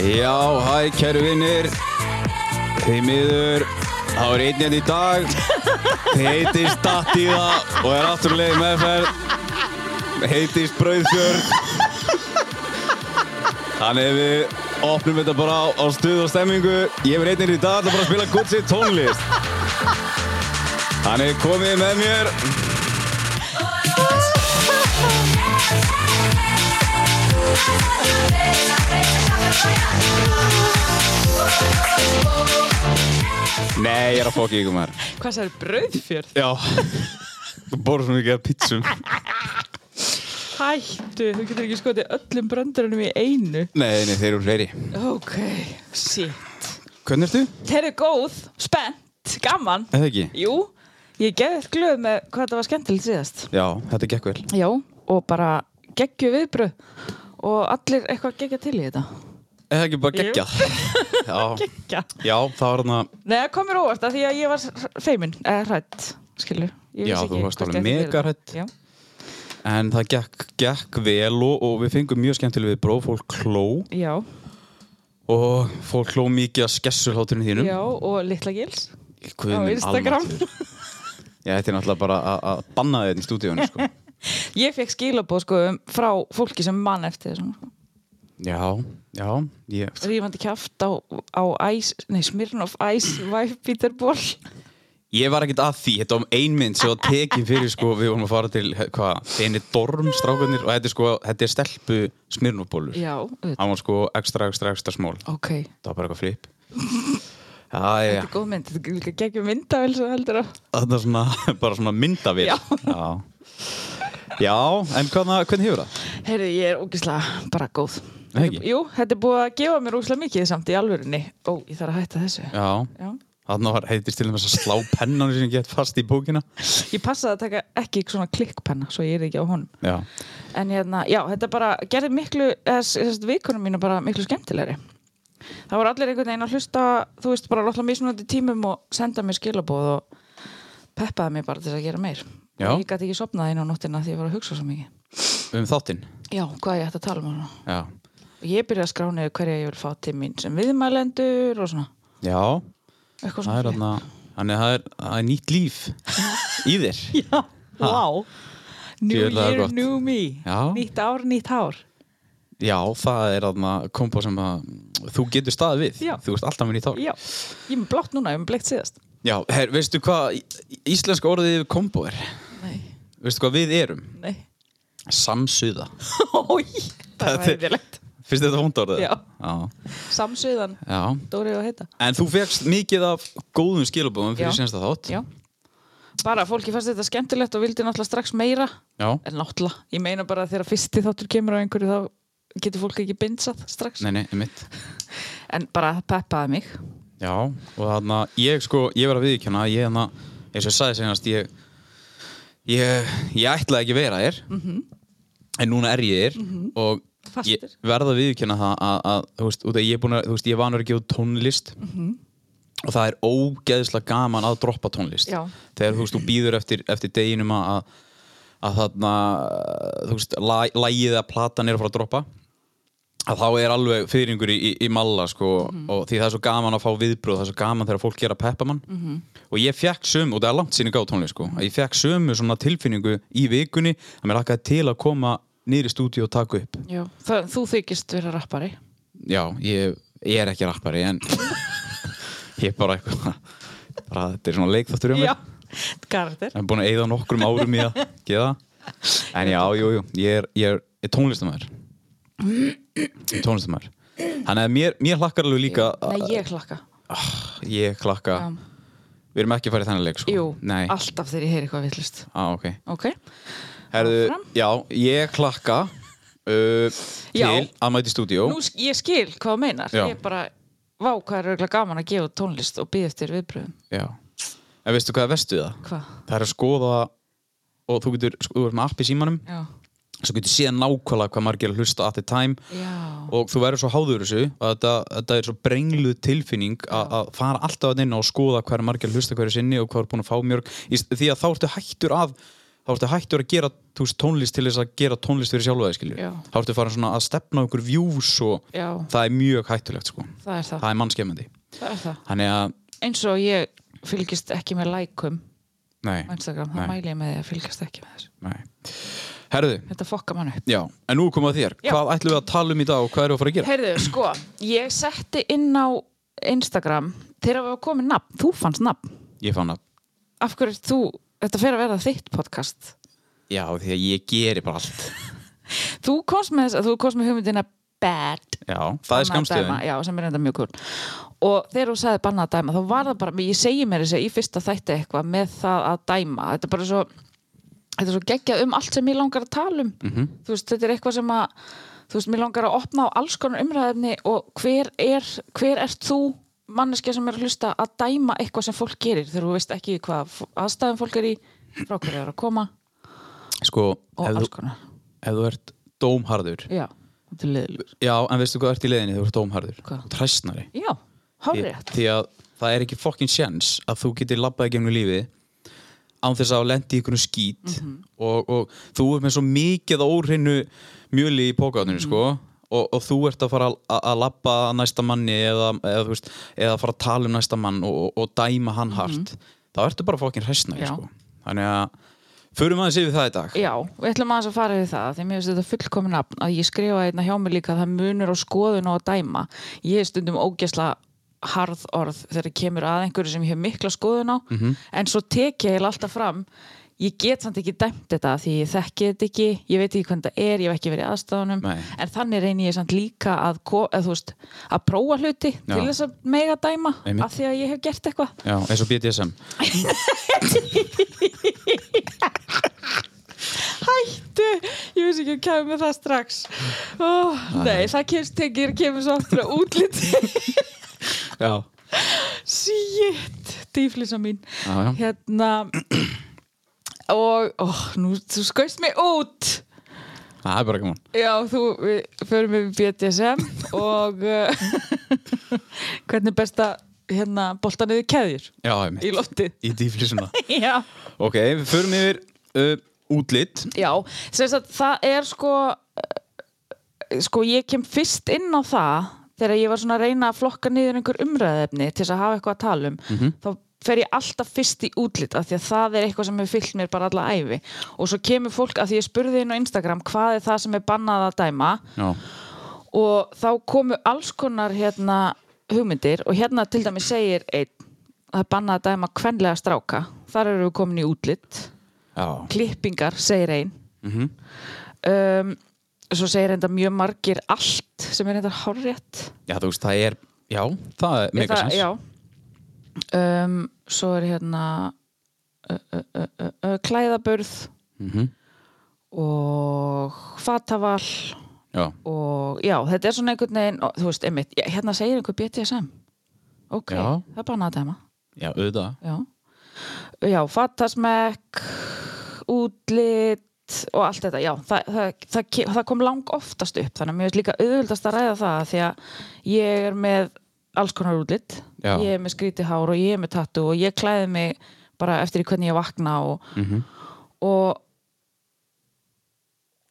Já, hæ, kæru vinnir Þið miður Þá er einn hérna í dag Þið heitist Dattíða og er afturlega meðferð Heitist Brauðfjörn Þannig að við opnum þetta bara á, á stuð og stemmingu Ég er einn hérna í dag Það bara að spila gutsi tónlist Þannig komið með mér Nei, ég er að fókja ykkur maður Hvað það er brauðfjörð? Já Þú borður svo mikið af pítsum Hættu, þú getur ekki skotið öllum bröndarunum í einu. Nei, nei, þeir eru fleiri Ok, shit. Hvernig ertu? Þeir eru góð, spennt, gaman. Eða ekki? Jú, ég gefur glöð með hvað þetta var skemmtilegt síðast. Já, þetta gekk vel. Já, og bara geggju viðbröð og allir eitthvað geggja til í þetta. Eða ekki bara Jú. geggjað? Já, Geggja. já, það var hann að, Nei, það komir óvart að því að ég var feimin, eða hrætt, skilur. Ég Já, vissi þú ekki varst hvort alveg ég ætti að mega gera þetta. Já. en það gekk, gekk vel og, og við fengum mjög skemmtileg við bróð, fólk kló Já, og fólk kló mikið að skessur háturinn þínum. já, og litla gils Guð á minn Instagram. almáttugur. Já, þetta er náttúrulega bara að- að banna þetta í stúdíónu, sko. Ég fekk skilabóð sko um- frá fólki sem mann eftir þessum sko. Já, já, ég, rífandi kjaft á, á æs, nei, Smirnoff Ice Væfbítarból ég var ekkert að því, þetta var ein mynd sem var tekin fyrir, sko, við vorum að fara til, hvað, eini dorm strákunir og þetta er, sko, þetta er stelpu smirnubólur. Já, auðvitað. Hann var, sko, ekstra, ekstra, ekstra smól. ok Það var bara eitthvað flip. Já, já, Þetta já. er góð mynd, þetta er líka geggjum myndavel sem heldur á Þetta er svona, bara svona myndavill. Já. Já. Já, en hvaðna, hvernig hefur það? Heyrðu, ég er ógislega bara góð Nei, Þetta- ekki? Jú, þetta er búið að gefa mér ógislega mikið samt í alvörinni Ó, ég þarf að hætta þessu Já. Já. Þarna var heitist til þess að slá pennan sem gett fast í bókina. Ég passaði að taka ekki svona klikkpenna svo ég er ekki á honum Já. En hérna, já, þetta bara gerði miklu, þessast vikunum mína bara miklu skemmtilegri. Það voru allir einhvern veginn að hlusta, þú veist, bara alltaf mismunandi tímum og senda mér skilabóð og peppaði mér bara til að gera meir. Já. Og ég gæti ekki sopnað inn á nóttina því ég var að hugsa svo mikið. Um þáttinn. Já, hvað ég ætti að tala um hana? Já. Og ég byrjaði að skrá niður hverja ég vil fá til mín sem viðmælendur og svona. Já. Eitthvað Það svona. er þarna, þannig að það er, það er nýtt líf í þér. Já, wow. New Djöfull, það er year, gott. new me. Já. Nýtt ár, nýtt hár. Já, það er þarna kompa sem að þú getur staðið við. Já. Þú veist alltaf með nýtt ár. Já, ég er með blátt núna, ég er með bleikt síðast. Já, her, veistu hvað í- íslenska orðið yfir kombo er? Nei, Veistu hvað við erum? nei. Samsuða. Ói, það Þetta var er- hefðilegt Fyrst þetta vond orðið? Já. Já. Samsviðan, Já. Dóri og heita En þú fegst mikið af góðum skilabóðum fyrir Já. sensta þátt. Já Bara fólki fannst þetta skemmtilegt og vildi náttúrulega strax meira Já. En náttúrulega, ég meina bara að þegar fyrsti þáttur kemur á einhverju þá getur fólk ekki bindsað strax Nei, nei, mitt. En bara það peppaði mig Já, og þannig að ég sko, ég verð að viðkjöna, ég þannig að, eins og ég sagði senast, ég, ég, ég ætlaði ekki að vera þér, en núna er ég þér og ég Mhm. Fastur. verð að viðkjöna það að, að, þú veist, út af ég er búin að, þú veist, ég er vanur að gefa út tónlist Mhm. og það er ógeðslega gaman að droppa tónlist. Já. Þegar, þú veist, þú býður eftir, eftir deginum að, að, að þarna, þú veist, lag- lagið að platan er að fara að droppa að þá er alveg fyrringur í, í, í malla sko, og því það er svo gaman að fá viðbröð það er svo gaman þegar fólk gera peppamann mm og ég fekk sömu, og það er langt sinni gáð tónlist sko, að ég fekk sömu svona tilfinningu í vikunni að mér lakkaði til að koma niður í stúdíu og taka upp Já. Það, Þú þykist vera rappari já, ég, ég er ekki rappari en ég er bara eitthvað bara þetta er svona leikþáttur um mig karakter en búin að eyða nokkrum árum í að geða en já, jú, jú, ég er, ég er, ég er tónlistamæður tónlistamæður þannig að mér, mér hlakkar alveg líka Nei, ég hlakka ég hlakka Já. við erum ekki að fara í þennan leik sko. Jú, nei, á, alltaf þegar ég heyri eitthvað villust ok Ok, Herðu, Áfram. já, ég hlakka uh, til Já. að mæti stúdíó Nú, sk- ég skil hvað þú meinar Já. Ég bara, vá, hvað er auðvitað gaman að gefa út tónlist og býða eftir viðbröðum já, en veistu hvað er vestu það? Hvað? það er að skoða og þú getur, sko, þú ert með app í símanum Já, svo getur séð nákvæmlega hvað margir er að hlusta at the time já, og þú verður svo háður þessu og þetta, þetta er svo brengluð tilfinning a- að fara alltaf að inn og skoða hvað er margir að hlusta hverju sinni og hvað er búin að fá mjörg í- því að þá ertu hættur að þá þá ertu hættur að gera þú veist, tónlist til þess að gera tónlist fyrir sjálfa þig skilju Já. þá ertu farin svona að stefna á ykkur views og já, það er mjög hættulegt sko það er það, það er mannskemmandi það er það þannig að, eins og ég fylgist ekki með lækum nei, á Instagram, það Nei. mæli ég með því að fylgjast ekki með þessu nei herðu, þetta fokka mann upp já, en nú komum við að þér Já. hvað ætlum við að tala um í dag og hvað erum við að fara að gera? heyrðu, sko, ég setti inn á Instagram þegar við varum komið nafn, þú fannst nafn ég fann að, af hverju ert þú, þetta fer að verða þitt podcast já, því að ég geri bara allt þú komst með, þess- þú komst með hugmyndina bad já, það er Bannað að dæma, skamstöðin já, sem er enda mjög kúl og þegar þú sagði bannað að dæma þá var það bara, ég segi mér þess að í fyrsta þætti eitthvað með það að dæma þetta er bara svo, þetta er svo geggjað um allt sem ég langar að tala um Mhm. þú veist, þetta er eitthvað sem að þú veist, mér langar að opna á alls konar umræðefni og hver er, hver ert þú manneskja sem er að hlusta að dæma eitthvað sem fólk gerir þegar þú veist ekki hvað f- aðstæðum fólk er í frá hverju það er að koma sko, og ef alls þú, konar ef þú ert dómharður já, þetta er leðilur já, en veistu hvað ert í leiðinni, þú ert dómharður Hvað? træstnari já, því, hárið því að það er ekki fokkin sjens að þú getur labbaði gegnum lífið án þess að lendi í einhvern skít Mhm. og, og þú ert með svo mikið óhreinu mjöli í pókáðinu Mhm. sko og, og þú ert að fara að- að að labba að næsta manni eða, eða, þú veist, eða fara að tala um næsta mann og, og, og dæma hann hart þá ertu bara fokkin hræstnæg Mhm. Já. sko. þannig að förum aðeins yfir það í dag Já, við ætlum aðeins að fara við það því mér finnst þetta fullkomin nafn að ég skrifa einna hjá mig líka að það munur á skoðun og að dæma ég er stundum ógesla harð orð þegar það kemur að einhverju sem ég hef mikla skoðun á Mhm. en svo tek ég eiginlega alltaf fram ég get samt ekki dæmt þetta því ég þekki þetta ekki, ég veit ekki hvernig það er ég hef ekki verið í aðstæðunum Nei. en þannig reyni ég samt líka að, ko- eða, þú veist, að prófa hluti Já. til þess að mega dæma Einmitt. af því að ég hef gert eitthvað Já, eins og BDSM Hættu, ég veist ekki að kemur með það strax Ó, Nei, það kemst tekir kemur svo aftur að útliti Já, Shit, dýflisa mín já, já. Hérna Og, ó, nú, þú skoist mig út það er bara gaman Já, þú, við förum við BDSM og uh, hvernig er best að hérna, bolta niður keðjur Já, einmitt. í loftið í dýflisuna Já Ok, við förum yfir uh, útlitt Já, sem sagt, það er sko eh, sko ég kem fyrst inn á það þegar ég var svona að reyna að flokka niður einhver umræðefni til þess að hafa eitthvað að tala um þá fer ég alltaf fyrst í útlit af því að það er eitthvað sem hefur fyllt mér bara alla æfi og svo kemur fólk að því ég spurði inn á Instagram hvað er það sem er bannað að dæma Já, og þá komu alls konar hérna hugmyndir og hérna til dæmi segir einn það er bannað að dæma kvenlega stráka þar eru við komin í útlit já. klippingar, segir einn Mhm. um, svo segir enda mjög margir allt sem er enda hárrétt já þú veist, það er Já, það er mega Það- sens já um, svo er hérna ö, ö, ö, ö, ö, klæðaburð Mhm. og fataval já. og já, þetta er svona einhvern veginn og, þú veist, einmitt, já, hérna segir einhver BDSM ok, Já. það er bara að dæma já, auðvitað já, já fattasmekk útlit og allt þetta, já það, það, það, ke- það kom lang oftast upp þannig að mér finnst líka auðvöldast að ræða það því að ég er með alls konar útlit, Já. ég er með skríti hár og ég er með tattu og ég klæði mig bara eftir í hvernig ég vakna og, Mhm. og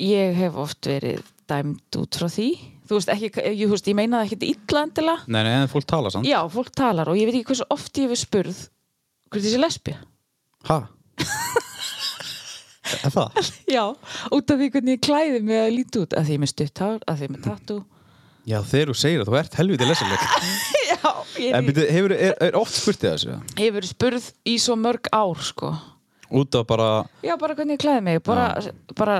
ég hef oft verið dæmd út frá því þú veist, ekki, ég, þú veist, ég meina það ekki illa endilega Nei, nei, en fólk tala samt Já, fólk talar og ég veit ekki hversu oft ég hef spurð hvernig þessi lesbja. Ha? Er það? Já, út af því hvernig ég klæði mig að líti út, að því ég er með stutt hár, að því ég er með tattoo. Já, þegar þú segir að þú ert helviti lesaleg Já, ég En er, byrju, hefur, er, er oft spurt þið þessu? ég hef verið spurð í svo mörg ár, sko. Út af bara, Já, bara hvernig ég klæði mig, bara, bara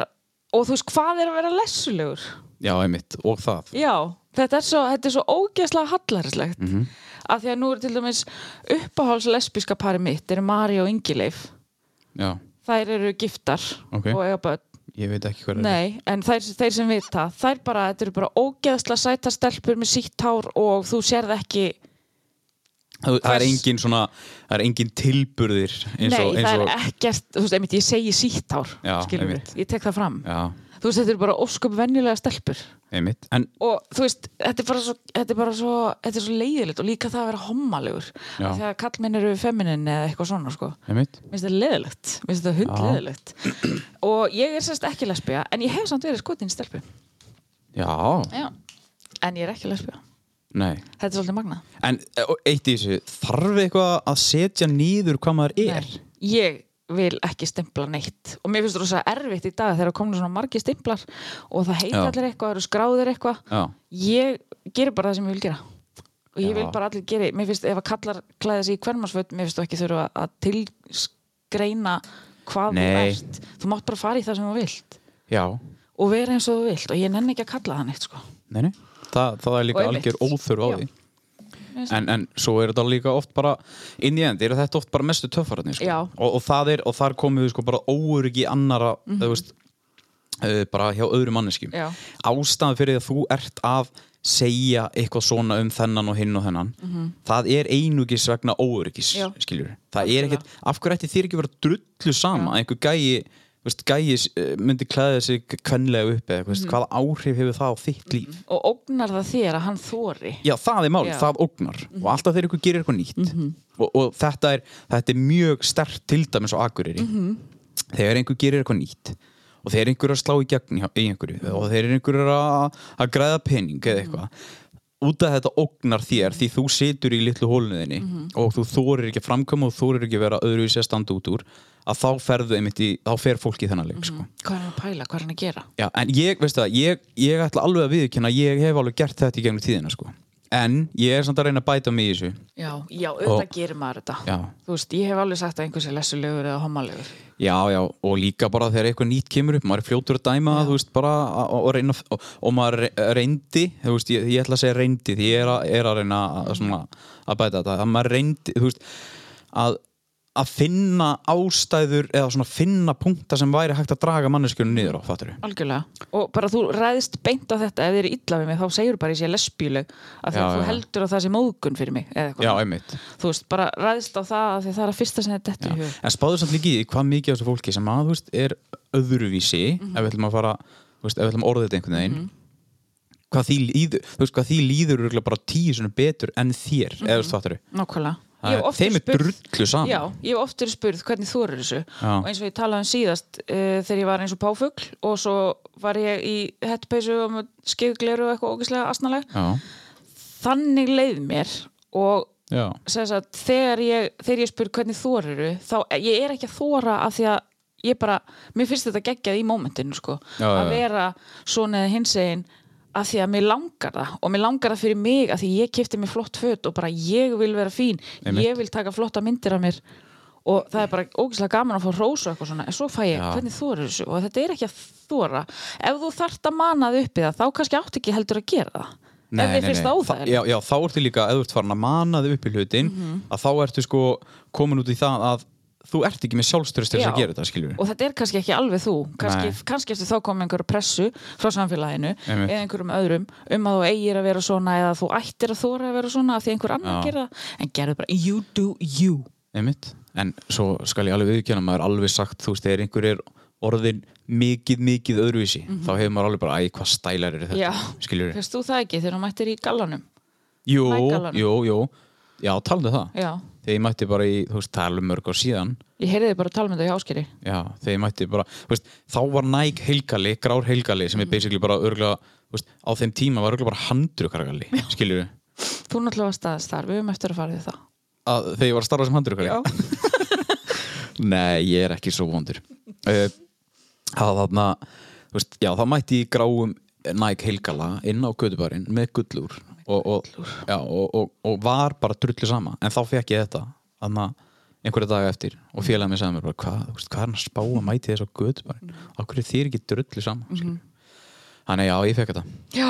og þú veist, hvað er að vera lessulegur? já, einmitt, og það Já, þetta er svo, þetta er svo ógeðslega hallarislegt. Mhm. Mm Af því að nú er til dæmis uppáháls lesbíska pari mitt, eru Mari og Ingileif. Já, Þær eru giftar Ok. og eiga börn. ég veit ekki hver er Nei, en þeir, þeir sem vita, þær bara, þetta eru bara ógeðsla sæta stelpur með sítt hár og þú sérð ekki það það er Hvers- engin svona það er engin tilburðir eins og, Nei, eins það og er ekkert, þú veist, einmitt, ég segi sítt ár, Já, skilur einmitt. ég tek það fram. já, Þú veist, þetta eru bara ósköp venjulega stelpur. einmitt en, Og þú veist, þetta er bara svo, þetta er bara svo, þetta er svo leiðilegt og líka það að vera hommalegur. Já. Þegar kallmenn eru feminin eða eitthvað svona, sko. einmitt Mér finnst þetta leiðilegt, mér finnst þetta hund leiðilegt. Og ég er sérst ekki lesbía, en ég hef samt verið skotin í stelpu. já, Já. En ég er ekki lesbía. nei Þetta er svolítið magnað. En e, og eitt í þessu, þarf eitthvað að setja nýður hvað maður er? Nei, ég vil ekki stimpla neitt og mér finnst það rosa erfitt í dag þegar komna svona margir stimplar og það heita Já. allir eitthvað, eru skráðir eitthvað Já, ég gerir bara það sem ég vil gera og ég Já. vil bara allir gera mér finnst ef að kallar klæða sig í kvernmarsföt mér finnst þú ekki þurfa að tilgreina hvað þú Nei. ert þú mátt bara fara í það sem þú vilt já, og vera eins og þú vilt og ég nenni ekki að kalla það neitt sko. nei, nei. Þa, það er líka Og einmitt. algjör óþörf á Já. sko. því. Mér finnst- En, en svo er þetta líka oft bara, inn í endi, eru þetta oft bara mestu töffararnir, sko. Já. Og, og, það er, og þar komum við sko bara óöryggi annara, þú veist, uh, bara hjá öðrum manneskjum. Mhm. Já. Ástæðan fyrir því að þú ert að segja eitthvað svona um þennan og hinn og þennan, það er einugis vegna óöryggis, Mhm. Já. skiljur. Það er ekkert, af hverju ætti þér ekki að vera drullu sama Já. að einhver gæi, þú veist, gæi eh, myndi klæða sig kvenlega upp eða, mm Mhm. -hmm. hvaða áhrif hefur það á þitt líf? og ógnar það þér að hann þóri Já, það er málið, Já. það ógnar og alltaf þegar ykkur gerir eitthvað nýtt og, og þetta, er, þetta er mjög stert til dæmis á Akureyri þegar einhver gerir eitthvað nýtt og þegar einhver er að slá í gegn hjá- í einhverju og þegar einhver er að, að græða pening eða eitthvað út af þetta ógnar þér því þú situr í litlu hólnuðinni og þú þorir ekki að framkoma og þorir ekki að vera öðruvísi að standa út úr að þá ferðu einmitt í, þá fer fólk í þennan leik sko. hvað er hann að pæla, hvað er hann að gera Já, en ég, veistu það, ég, ég ætla alveg að viðkynna ég hef alveg gert þetta í gegnum tíðina, sko En ég er samt að reyna að bæta mig í þessu já, já auðvitað Og- gerir maður þetta Já, Þú veist, ég hef alveg sagt að einhversi lesulegur eða homalegur. já, já, og líka bara þegar eitthvað nýtt kemur upp, maður er fljótur að dæma það, þú veist, bara að- og, og reyna, og, og maður re- reyndi, þú veist, ég, ég ætla að segja reyndi því ég er að, er að reyna að, svona, að bæta þetta, að maður reyndi, þú veist að, að finna ástæður eða svona finna punkta sem væri hægt að draga manneskjunum niður á, fattur Algjörlega. Og bara þú ræðist beint á þetta ef þið eru illa við mig, þá segir bara að ég sé lesbíleg að því Já, að þú já. heldur að það sé móðgun fyrir mig eða Já, eitthvað. einmitt Þú veist, bara ræðist á það að því að það er að fyrsta sem þetta dettur í hug. en spáður samt líki í hvað mikið af þessu fólki sem að, þú veist, er öðruvísi Mhm. ef við ætlum að fara, þú veist, ef við ætlum að orða þetta einhvern veginn hvað því líður, þú veist, hvað því líður örugglega bara tíu svona betur en þér, eða þú veist, fattur Nákvæmlega. Mhm. Ég hef við oft þeim er verið spurð- drullu saman Já, ég hef oft verið spurð hvernig þú eru þessu Já. og eins og ég talaði um síðast uh, þegar ég var eins og páfugl og svo var ég í hettpeysu og með skegugleru og eitthvað ógislega asnaleg. já, Þannig leið mér og já, sem sagt, þegar ég, þegar ég spyr hvernig þor eru, þá ég er ekki að þora af því að ég bara, mér finnst þetta geggjað í mómentinu sko, Já, já, að já. vera svona eða hins einn af því að mér langar það og mér langar það fyrir mig af því ég kipti mér flott föt og bara ég vil vera fín, Einmitt. ég vil taka flotta myndir af mér og það er bara ógeðslega gaman að fá rós og eitthvað svona, en svo fæ ég, Já. hvernig þor eru þessu og þetta er ekki að þora ef þú þart að mana þig uppi það, þá kannski átt ekki heldur að gera það ef þið finnst það Mhm. Þa- óþægilegt já, já, þá ertu líka, ef þú ert farin að mana þig upp í hlutin, að þá ertu sko komin út í það að þú ert ekki með sjálfstyrst til þess að Já. gera þetta, skiljum og þetta er kannski ekki alveg þú kannski, Nei. kannski eftir þá komið einhverju pressu frá samfélaginu Einmitt. eða einhverjum öðrum um að þú eigir að vera svona eða þú ættir að þóra að vera svona af því einhver annar Já. gerir það en gerðu bara you do you Einmitt. En svo skal ég alveg viðkjöna, maður er alveg sagt, þú veist, þegar einhver er orðin mikið, mikið öðruvísi, þá hefur maður alveg bara, æ, hvað stælar eru þetta, Mhm. Já. skiljur við? finnst þú það ekki þegar þú mættir í gallanum Jú, Hækkalanum. jú, jú, já, talaðu það. já, Þegar ég mætti bara í, þú veist, talum mörg á síðan, ég heyrði þig bara tala um með þau í áskeri já, þegar ég mætti bara, þú veist, þá var næg heilkali, grár heilkali, Mhm. sem er basically bara örgulega, þú veist, á þeim tíma var örgulega bara handrukargali, skiljur við? þú náttúrulega varst aðeins þar, við höfum eftir að fara því það Að, þegar ég var að starfa sem handrukari? Nei, ég er ekki svo vondur uh, Það þarna þú veist, Já, það mætti ég gráum Nike heilgala inn á gödubarinn með gullur og, og, já, og, og, og var bara drullu sama en þá fekk ég þetta þarna einhverja daga eftir Mm. og félagið mér sagði mér bara, hvað þú veist, hvað er hann að spá að mæti þess á Mm. gödubarinn okkur er þér ekki drullu sama mm Þannig já, ég fekk þetta Mhm. já,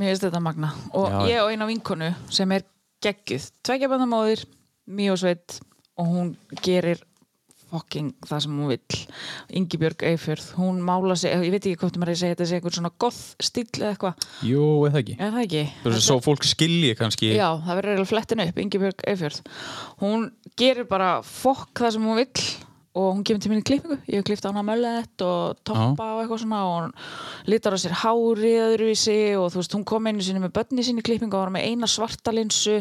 mér finnst þetta magna og Já. ég og eina vinkonu sem er geggjuð tveggja bandamóðir, mjög sveit og hún gerir fucking það sem hún vill Ingibjörg Eifjörð, hún mála sig ég veit ekki hvort maður er að segja þetta sé einhvern svona goth stíl eða eitthvað, Jú, eða ekki er það ekki? Þú veist, svo fólk skilji kannski Já, það verður eiginlega flettin upp, Ingibjörg Eifjörð hún gerir bara fokk það sem hún vill og hún kemur til minni klippingu, ég hef klippt á hana möllet og toppa og eitthvað svona og hún litar á sér hárið öðruvísi og þú veist, hún kom einu sinni með börni sinni í klippingu og var með eina svarta linsu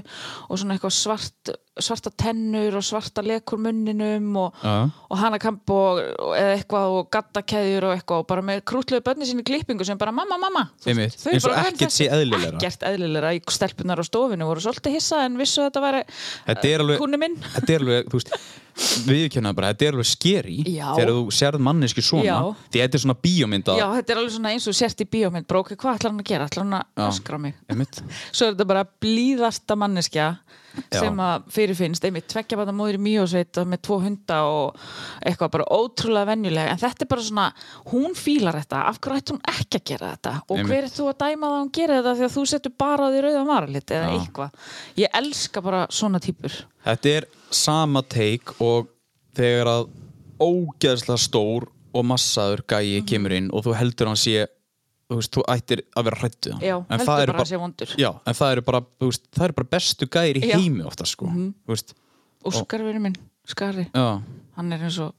og svona eitthvað svart, svarta tennur og svarta lekur munninum og, Já. og hana kamp og, og eða eitthvað og gattakeðjur og eitthvað og bara með krútluðu börni sinni í klippingu sem bara mamma, mamma, þú Einmitt, veist, þau eru eins og bara vön ekkert þessu. sé eðlilegra. ekkert eðlilegra í stelpunar á stofinu voru svolítið hissa en vissu að þetta væri Þetta er alveg- kúnu minn Þetta er alveg, þú veist Viðkjönna bara, þetta er alveg skeri Já. Þegar þú sérð manneski svona Já. Því þetta er svona bíómynda Já, þetta er alveg svona eins og sért í bíómynd bróki, hvað ætlar hann að gera? Ætlar hann að Já. öskra á mig? Einmitt. Svo er þetta bara blíðasta manneskja Já. sem að fyrirfinnst, einmitt tveggja bara móður í mjósveit með tvo hunda og eitthvað bara ótrúlega venjulega en þetta er bara svona, hún fílar þetta af hverju ætti hún ekki að gera þetta og Einmitt. hver er þú að dæma það að hún gera þetta því að þú setur bara á því rauða maralit eða Já. eitthvað ég elska bara svona típur Þetta er sama take og þegar að ógeðslega stór og massaður gæi Mhm. kemur inn og þú heldur hann sé þú veist, þú ættir að vera hrættu hann Já, heldur það eru bara að sé vondur. Já, en það eru bara, þú veist, það eru bara bestu gæir í Já. Mhm. heimi ofta, sko Þú veist, Óskar verið minn, Skari já, hann er eins og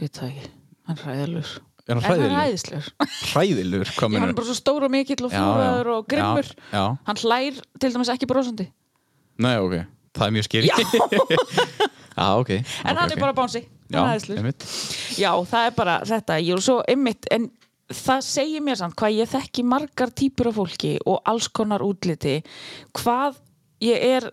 við það ekki, hann er hræðilegur Er hann En hann er hræðilegur? hræðislegur hræðilur, hvað Já, hann mennur er bara svo stór og mikill og Já, já. fúraður og grimmur Já, já. hann hlær til dæmis ekki brosandi Nei, ok, það er mjög skeri Já, ok en hann er bara bánsi, hann er Já, hræðislur einmitt já, það er bara þetta, ég er svo ymmit en það segir mér samt hvað ég þekki margar típur af fólki og alls konar útliti hvað ég er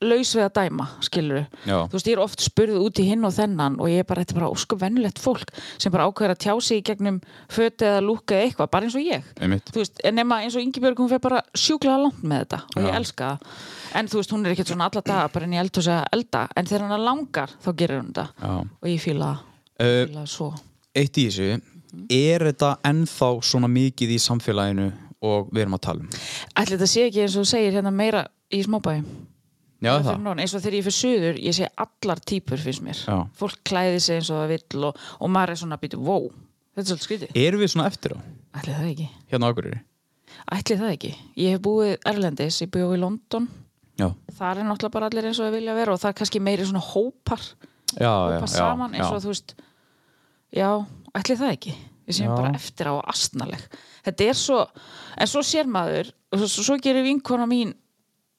laus við að dæma, skilur Já. þú veist, ég er oft spurð út í hinn og þennan og ég er bara, þetta er bara óskum venjulegt fólk sem bara ákveður að tjá sig í gegnum föti eða lúka eða eitthvað, bara eins og ég Einmitt. þú veist, en nema eins og Ingibjörg hún fer bara sjúklega langt með þetta og ég Já. elska það en þú veist, hún er ekkert svona alla daga bara inn í eldhúsi að elda en þegar hann langar, þá gerir hún þetta Já. og ég fíla það Uh, ég fíla það svo Eitt í þessu, er þetta ennþá svona mikið í samfélaginu og við erum að tala um? Ætli þetta sé ekki eins og þú segir hérna meira í smábæði Já, er það eins og þegar ég fyrir suður, ég sé allar típur finnst mér, Já. fólk klæði sig eins og það vill og, og maður er svona býtu, wow þetta er svolítið skrítið, Erum við svona eftir á? ætli það ekki Hérna á Akureyri? ætli það ekki, ég hef búið Erlendis ég búið í London, Já þar er náttúrulega bara allir eins og það vilja vera og það er kannski meiri svona hópar Já, já, hópa saman eins og já. þú veist já, ætli það ekki við séum Já. bara eftir á og astnaleg þetta er svo, en svo sér maður og svo, svo gerir vinkona mín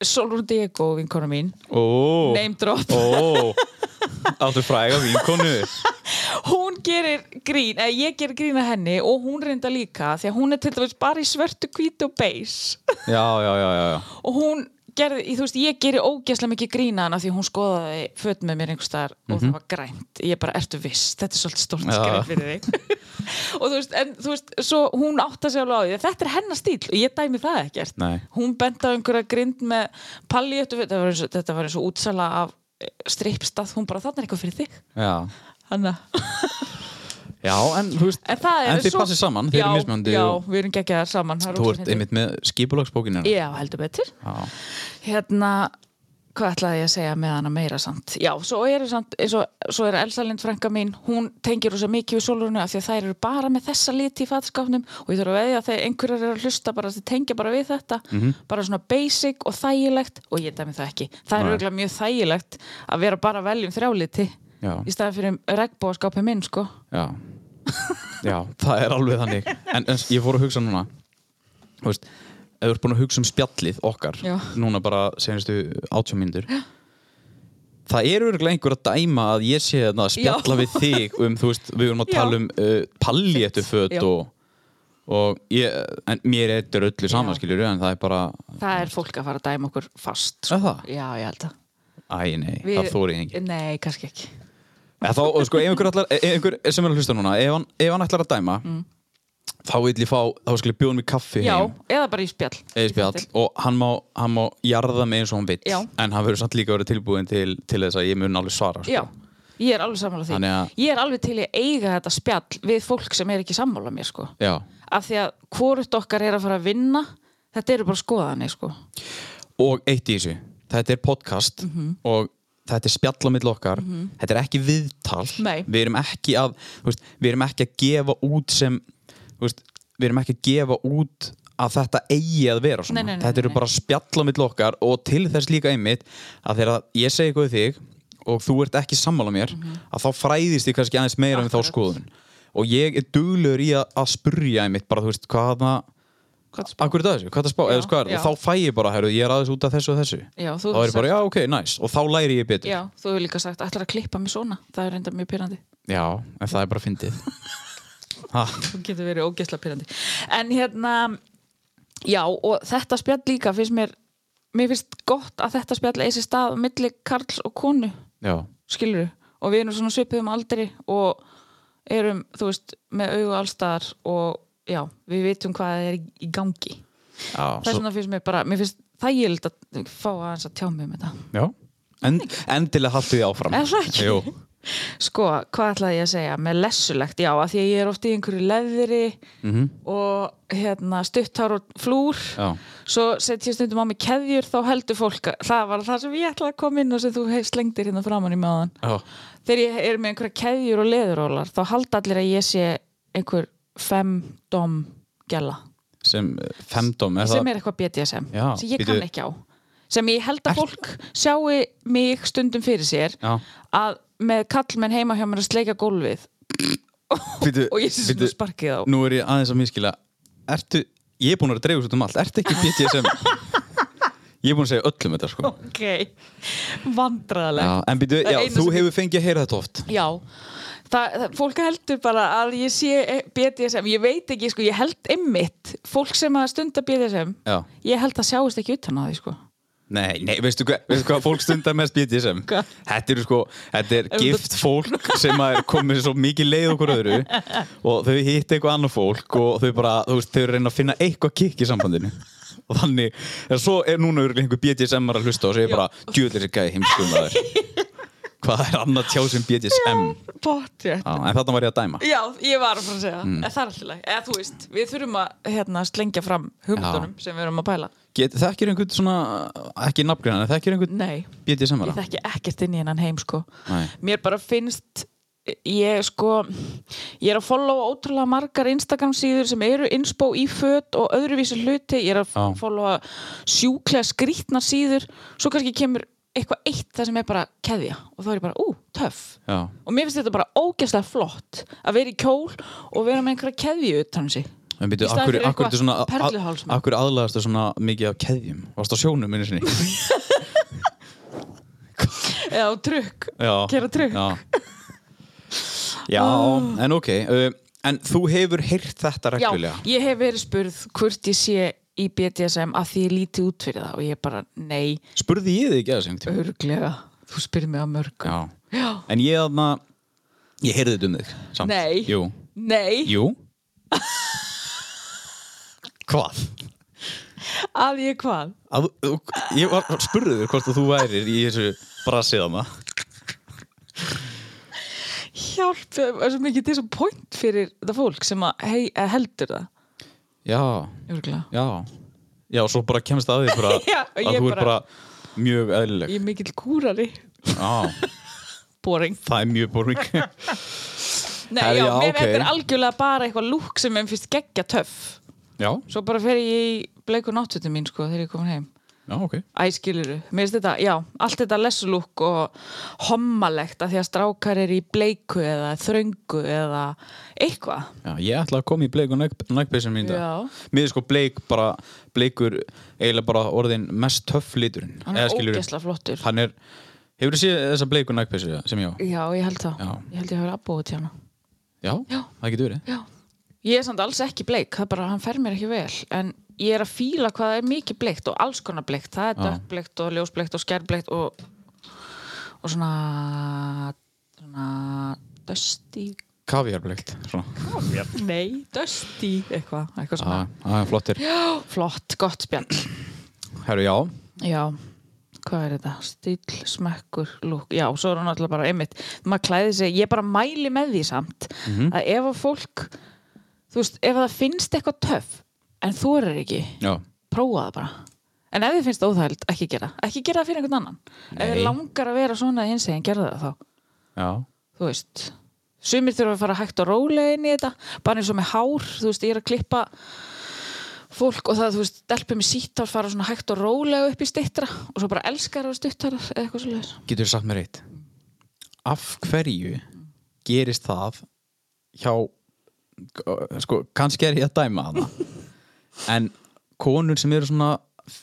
Solrún Diego vinkona mín Ó, name drop, ó Áttu fræga vinkonu hún gerir grín eða ég gerir grín að henni og hún reynda líka því að hún er til dæmis bara í svörtu hvít og beis Já, já, já, já, já og hún gerði, í- þú veist, ég geri ógeðslega mikið grína hana því hún skoðaði fött með mér einhvers staðar og það var grænt ég bara, ertu viss, þetta er svolítið stórt Mhm. Já. skrif fyrir þig og þú veist, en þú veist, svo hún átta sig alveg á því þetta er hennar stíl og ég dæmi það ekkert Nei. hún benda á einhverja grind með palli þetta var eins og, þetta var eins og útsala af stripstað, hún bara, þarna er eitthvað fyrir þig Já, Hanna. já en þú veist en það er En þið passið saman, þið já, eru mismunandi já, og- við erum geggjaðar saman það er Þú ógeðslega ert fyndið. einmitt með skipulagsbókinu já, heldur betur Já, hérna hvað ætlaði ég að segja með hana meira samt já, svo eru samt, eins og, svo er Elsa Lind frænka mín, hún tengir rosa mikið við sólurinu af því að þær eru bara með þessa liti í fatskapnum og ég þarf að veðja að þegar einhverjar eru að hlusta bara að þeir tengja bara við þetta Mhm. bara svona basic og þægilegt og ég dæmi það ekki, það er Nei. auðvitað mjög þægilegt að vera bara að veljum þrjáliti Já. í staðan fyrir regnbóðaskapi minn sko já Já, það er alveg þannig En, en ég fór að hugsa núna Þú veist, ef þú ert búin að hugsa um spjallið okkar Já. Núna bara senastu átjum mínútur Það eru örgulega einhver að dæma að ég sé þarna að spjalla Já. við þig um, þú veist, við erum að Já. tala um uh, palléttuföt Já. og, og ég, en mér er þetta öllu Já. saman, skiljur, en það er bara, það er fólk að fara að dæma okkur fast sko. Er það? já, ég held að æ nei, það þóri ég ekki. nei, kannski ekki En þá, og sko, ef einhver, allar, ef einhver sem er að hlusta núna, ef hann, ef hann ætlar að dæma, þá vil ég fá, þá skal ég bjóða mig kaffi Mm. já, heim. eða bara í spjall eða spjall og hann má, hann má jarða mig eins og hann vill Já. en hann verður samt líka að vera tilbúin til, til þess að ég mun alveg svara sko. Já, ég er alveg sammála því. Þannig að- Ég er alveg til í að eiga þetta spjall við fólk sem er ekki sammála mér, sko. Já. Af því að hvort okkar er að fara að vinna, þetta eru bara skoðanir, sko. og eitt í þessu, þetta er podcast og þetta er spjall á milli okkar þetta er ekki viðtal Nei. við erum ekki að þú veist, við erum ekki að gefa út sem þú veist, við erum ekki að gefa út að þetta eigi að vera svona Nei, nei, nei, þetta eru nei, nei. bara spjall á milli okkar og til þess líka einmitt að þegar ég segi eitthvað við þig og þú ert ekki sammála mér að þá fræðist ég kannski aðeins meira um þá Akkurat. skoðun og ég er duglur í að, að spurja einmitt bara þú veist hvaða Hvað spá? Akkur er það þessu, hvað er það að spá, Já, eða hvað er, já. og þá fæ ég bara, herru, ég er aðeins út af þessu og þessu Já, þú þá er hefur ég bara, já, ok, næs, og þá læri ég betur Já, þú hefur líka sagt, ætlar að klippa mig svona Það er reynda mjög pyrrandi Já, en það er bara fyndið ha, Þú getur verið ógeðslega pyrrandi En hérna, já, og þetta spjall líka finnst mér Mér finnst gott að þetta spjall eigi sér stað milli Karls og konu, Já, skilur Og við erum svona svipuðum aldri og erum, þú veist, með augu allstaðar og já, við vitum hvað er í- í gangi. já, Þess svo, vegna finnst mér bara, mér finnst þægild að fá aðeins að tjá mig um þetta. já. En, Endilega haltu því áfram Er það ekki? Jú, Sko, hvað ætlaði ég að segja með lessulegt? Já, að því að ég er oft í einhverju leðri og hérna, stuttár og flúr Mhm. já, svo set ég stundum á mig keðjur þá heldur fólk að það var það sem ég ætlaði að koma inn og sem þú hef slengdir hérna framan í maðan já, þegar ég er með einhverja keðjur og leðurólar þá halda allir að ég sé einhver femdom gæla sem eh, femdóm er sem það, er eitthvað BDSM Já, sem ég býtu. kann ekki á sem ég held að fólk sjáu mig stundum fyrir sér Já, að með kallmenn heima hjá mér að sleika gólfið býtu, og ég sé svona býtu, sparkið á nú er ég aðeins að miskila Ertu, ég er búin að dreifu svo um allt, ertu ekki BDSM? ég er búin að segja öllum þetta, sko ok, vandræðalegt Já, en býtu, Það er já, eina þú sem- hefur fengið að heyra þetta oft já, það, það, fólk heldur bara að ég sé BDSM ég veit ekki, sko, ég held einmitt fólk sem að stunda BDSM Já ég held að sjáist ekki utan á því, sko Nei, nei, veistu hvað, veistu hvað fólk stundar mest BDSM? Hvað? Þetta eru sko, þetta er þetta- gift fólk sem að er komið svo mikið leið okkur öðru og þau hitt eitthvað annað fólk og þau bara, þú veist, þau reyna að finna eitthvað kikk í sambandinu og þannig, en svo er núna örugglega einhver BDSM að hlusta og segja bara, djöðlir sér gæði heimskum að þér Hvað er annað tjá sem BDSM? bóttið Já, en þarna var ég að dæma Já, ég var að fara að segja, mm. það er alltaf leið eða þú veist, við þurfum að hérna, slengja fram hugmyndunum sem við erum að pæla Get, Þekkir einhvern svona, ekki nafngrinna, en þekkir einhvern Nei, BDSM ég að þekki ekkert inn í hennan heim sko. Nei. mér bara finnst ég sko ég er að followa ótrúlega margar Instagram síður sem eru inspo í föt og öðruvísi hluti, ég er að Já. followa sjúklega skrítna síður svo kannski kemur eitthvað eitt það sem er bara keðja og þá er ég bara, ú, töff Já, og mér finnst þetta bara ógeðslega flott að vera í kjól og vera með einhverja keðju utan um sig En byrju, Í staðinn akkur, fyrir akkur, eitthvað svona, perluhálsmenn. akkur aðlagastu svona mikið af keðjum? Varst á sjónum minni sinni? eða á trukk, Já. gera trukk Ah. Já, já en ok. Uh, en þú hefur heyrt þetta Já, reglulega? ég hef verið spurð hvort ég sé í BDSM að því ég líti út fyrir það og ég bara, nei, Spurði ég þig ekki að þessum tíma? örglega þú spyrir mig að mörgu Já. Já. En ég aðna, ég heyrði þetta um þig samt. Nei. Jú. Nei, Jú. Hvað? að ég hvað Að, þú- ég var, spurði þér hvort að þú værir í þessu brassið hana. Hjálp, það er svo mikið disappoint fyrir það fólk sem að hei, að heldur það Já. örglega Já, já, svo bara kemst að því bara, Já, og að ég þú er bara bara- mjög eðlileg Ég er mikill kúrari Já, Boring það er mjög boring Nei, Herra, já, já, mér ok. þetta er algjörlega bara eitthvað lúk sem mér finnst geggja töff Já, Svo bara fer ég í bleiku náttutum mín sko þegar ég er komin heim já, ok Æskiluru, mér finnst þetta, já, allt þetta lessulúk og hommalegt að því að strákar er í bleiku eða þröngu eða eitthvað. Já, ég ætla að koma í bleik og nægpeysum mín í dag. Já. Mér er sko bleik bara, bleikur eiginlega bara orðin mest töff liturinn Hann eða er skilurðu. ógeðslega flottur. Hann er, hefur þú séð þessa bleik og nægpeysu sem ég á? Já, ég held það. Já. Ég held ég hafa abbóið til hana. Já, Já. það getur verið Já. Ég er samt alls ekki bleik, það er bara, hann fer mér ekki vel, en ég er að fíla hvað það er mikið bleikt og alls konar bleikt. Það er Já. dökkbleikt og ljósbleikt og skærbleikt og, og svona, svona, dusty. Kaviarbleikt, svona Nei, dusty, eitthvað, eitthvað svona. Já, það er flottir Flott, gott spjall. Herru, já, Já, hvað er þetta? Stíl, smekkur, lúk. Já, svo er hún alltaf bara einmitt. Maður klæði sig, ég bara mæli með því samt að ef að fólk, þú veist, ef að það finnst eitthvað töff, en þú er ekki, já prófa það bara. En ef þið finnst það óþægild, ekki gera það. Ekki gera það fyrir einhvern annan. Ef þið Nei. langar að vera svona hins eginn, gera það þá. já, Þú veist, sumir þurfa að fara hægt og rólega inn í þetta. Bara eins og með hár, þú veist, ég er að klippa fólk og það, þú veist, delpið með síttar fara svona hægt og rólega upp í stittra og svo bara elskar og stuttar eða eitthvað svo getur sagt mér eitt af hverju gerist það hjá sko, kannski er ég að dæma hana en konur sem eru svona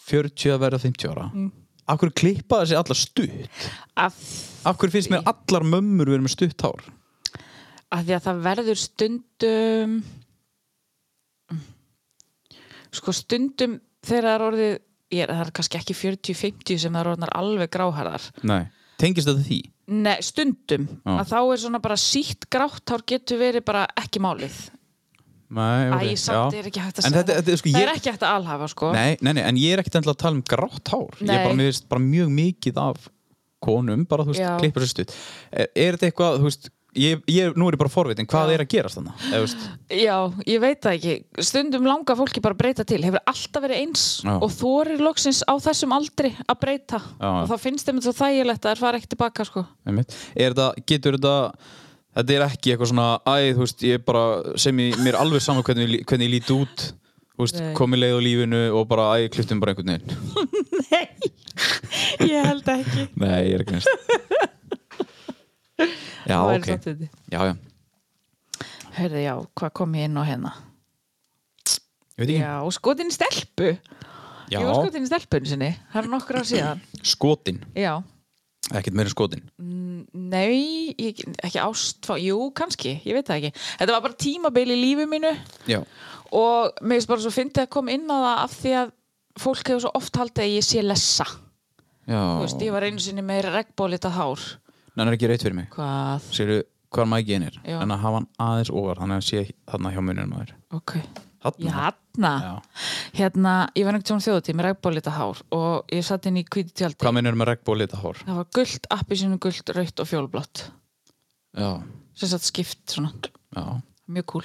40 að verða 50 ára af hverju klippa þessi allar stutt Af, af hverju finnst mér allar mömmur verið með stutt hár af því að það verður stundum sko stundum þegar það er orðið ég, er- það er kannski ekki 40-50 sem það er orðnar alveg gráharðar nei, tengist þetta því Nei, stundum Já. að þá er svona bara sítt grátt hár getur verið bara ekki málið nei, Æ, samt er ekki hægt að En segja þetta- þetta er sko, það ég- er ekki hægt að alhafa sko Nei, nei, nei, en ég er ekkert endilega að tala um grátt hár Ég er bara, Nei. mér veist bara mjög mikið af konum, bara þú veist, Já. klippur sér stutt Er, er þetta eitthvað, þú veist ég, ég, Nú er ég bara forvitin, hvað Já. er að gerast þannig? Eða, þú veist, Já, ég veit það ekki stundum langar fólki bara að breyta til hefur alltaf verið eins Já. og þorir loksins á þessum aldri að breyta Já. og þá finnst þeim þetta svo þægilegt að það fara ekki tilbaka sko einmitt. er þetta, getur þetta Þetta er ekki eitthvað svona, æ, þú veist, ég bara sem ég, mér er alveg saman hvernig, ég lí- hvernig ég líti út Þú veist, Nei. komi leið á lífinu og bara, æ, klipptum bara einhvern veginn Ég held ekki Nei, ég er ekki næst Já, Þá er ok samt þetta. Já, já, Heyrðu, já, hvað kom ég inn á hérna? ég veit ekki Já, sko, skotin í stelpu. Ég var skotin í stelpunni sinni. Það er nokkur ár síðan. skotin, Já. ekkert meira en skotin Mm, Nei, ég, ekki ástfá. Jú, kannski. Ég veit það ekki. Þetta var bara tímabil í lífi mínu Já, og mér finnst bara svo fyndið að koma inn á það af því að fólk hefur svo oft haldið að ég sé lessa. já Þú veist, ég var einu sinni með regnbólita hár. Hann er ekki reitt fyrir mig Hvað? Sérðu hvað mækið henn er Já. En að hafa hann aðeins ofar Þannig að hann sé þarna hjá munum aður Ok. Í Þarna hanna. Já. Hérna, ég var einhvern tjón þjóðutíð með regnbólita hár og ég satt inn í kvíti tjaldi. Hvað munur með regnbóð lita hár? Það var gullt, appisínu gullt, rautt og fjólblott Já, sem satt skipt svona, já mjög kúl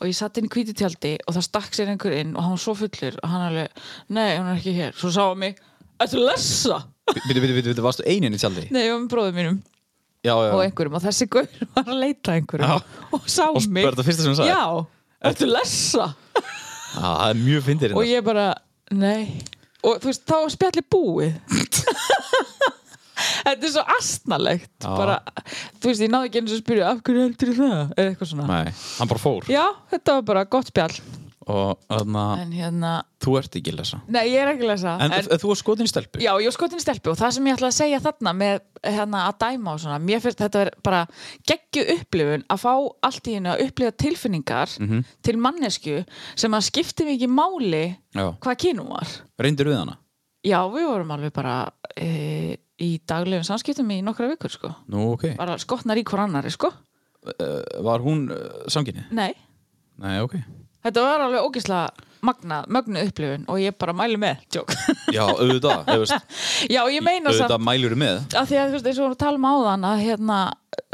og ég satt inn í hvítu tjaldi og það stakk sér einhver inn og hann var svo fullur og hann alveg, nei, hún er ekki hér svo sá hann mig, ættu lessa Býtu, býtu, býtu, varstu einin í tjaldi? nei, ég var með bróðum mínum Já, já og einhverjum og þessi gaur var að leita að einhverjum Já. og sá Og mig var þetta fyrsta sem hún sagði? já, ættu lessa Já, það er mjög hérna. fyndir og ég bara, nei og þú veist, þá var spjallið búið Þetta er svo astnalegt Já. bara, þú veist, ég náði ekki eins og spyrja af hverju heldur það, eða eitthvað svona Nei, hann bara fór Já, þetta var bara gott spjall Og þannig að En hérna, þú ert ekki lesa nei ég er ekki að lesa En, en þú var skotin í stelpu? Já, ég var skotin í stelpu og það sem ég ætla að segja þarna með hérna að dæma og svona Mér finnst þetta er bara geggju upplifun að fá allt í hennu að upplifa tilfinningar Mhm. til mannesku sem að skipti mig ekki máli Já. hvað kynum var Reyndir við hana? Já, við vorum alveg bara e, í daglegum samskiptum í nokkra vikur sko Nú, ok Var, Bara skotnar í hver annari sko var hún uh, samkynni? Nei, Nei, ok þetta var alveg ógislega magna, mögnu upplifun og ég bara mæli með, tjók Já, auðvitað, þú veist Já, ég meina samt Auðvitað mælurðu með að því að þú veist eins og við vorum að tala um áðan að hérna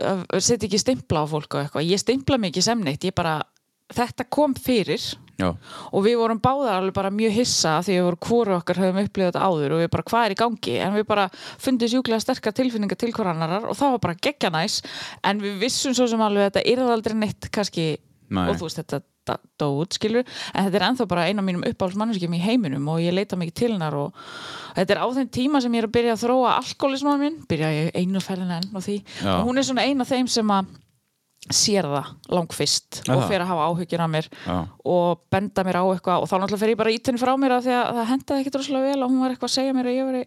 að setja ekki stimpla á fólk og eitthvað ég stimpla mig ekki sem neitt, ég bara þetta kom fyrir Já, og við vorum báðar alveg bara mjög hissa af því að við vorum hvora okkar höfum upplifað þetta áður og við bara hvað er í gangi en við bara fundum sjúklega sterkar tilfinningar til hver annarar og það var bara geggja næs en við vissum svo sem alveg að þetta yrði aldrei neitt kannski Nei. og þú veist þetta da- dó út skilur en þetta er ennþá bara eina af mínum uppáhaldsmanneskjum í heiminum og ég leita mikið til hennar og þetta er á þeim tíma sem ég er að byrja að þróa alkoholismann minn, byrja ég einu ferðin enn og því Já. og hún er svona eina af þeim sem að sér það langfist Er og það? fer að hafa áhyggjur af mér Já. og benda mér á eitthvað og þá náttúrulega fer ég bara ítin frá mér af því að það hendaði ekkit rosalega vel og hún var eitthvað að segja mér að ég veri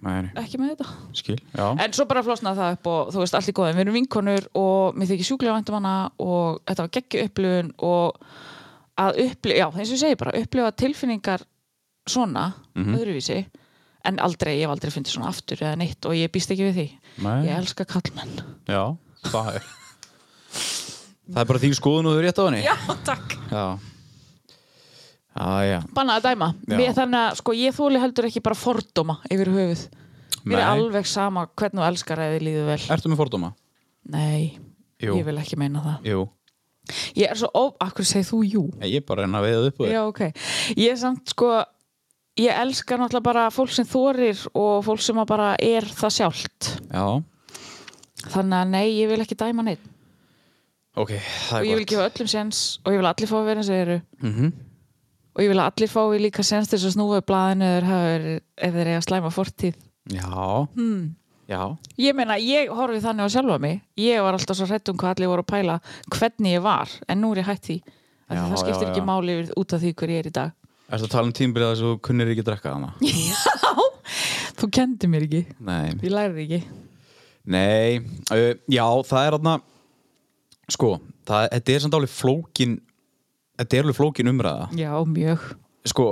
nei, ekki með þetta skil Já, en svo bara flosnaði það upp og þú veist allt í góðum við erum vinkonur og mér þykir sjúklega vandum hana og þetta var geggju upplifun og að upplifa, já eins og ég segi bara upplifa tilfinningar svona öðruvísi en aldrei, ég hef aldrei fundið svona aftur eða neitt og ég býst ekki við því Nei. ég elska kallmenn Já, það er Það er bara þín skoðun og þau rétt á henni já takk Já Já, já banna að dæma Já. Mér, þannig að sko, ég þóli heldur ekki bara fordóma yfir höfuð mér er Nei. alveg sama hvernig þú elskar að þið líður vel Ertu með fordóma? nei, Jú. ég vil ekki meina það Jú ég er svo, ó, akkur segir þú jú Nei, Ég er bara að reyna að veiða upp úr þér já, ok, ég er samt sko ég elska náttúrulega bara fólk sem þorir og fólk sem að bara er það sjálft já, þannig að nei, ég vil ekki dæma neitt ok, það og er ég vil gott gefa öllum sens og ég vil að allir fá að vera eins og þeir eru mm og ég vil að allir fái líka sens til þess að snúa upp blaðinu ef þeir hafa verið- ef þeir eiga slæma fortíð já, hmm. já, ég meina, ég horfi þannig á sjálfa mig ég var alltaf svo hrætt um hvað allir voru að pæla hvernig ég var, en nú er ég hætt því Af því Já, það skiptir já, ekki já. máli yfir- út af því hver ég er í dag ertu að tala um tímbilið þess að þú kunnir ekki að drekka hana? þú kendi mér ekki, Nei, ég lærði ekki Nei, uh, já, það er þarna sko, það, þetta er samt alveg flókin þetta er alveg flókin umræða já, mjög sko,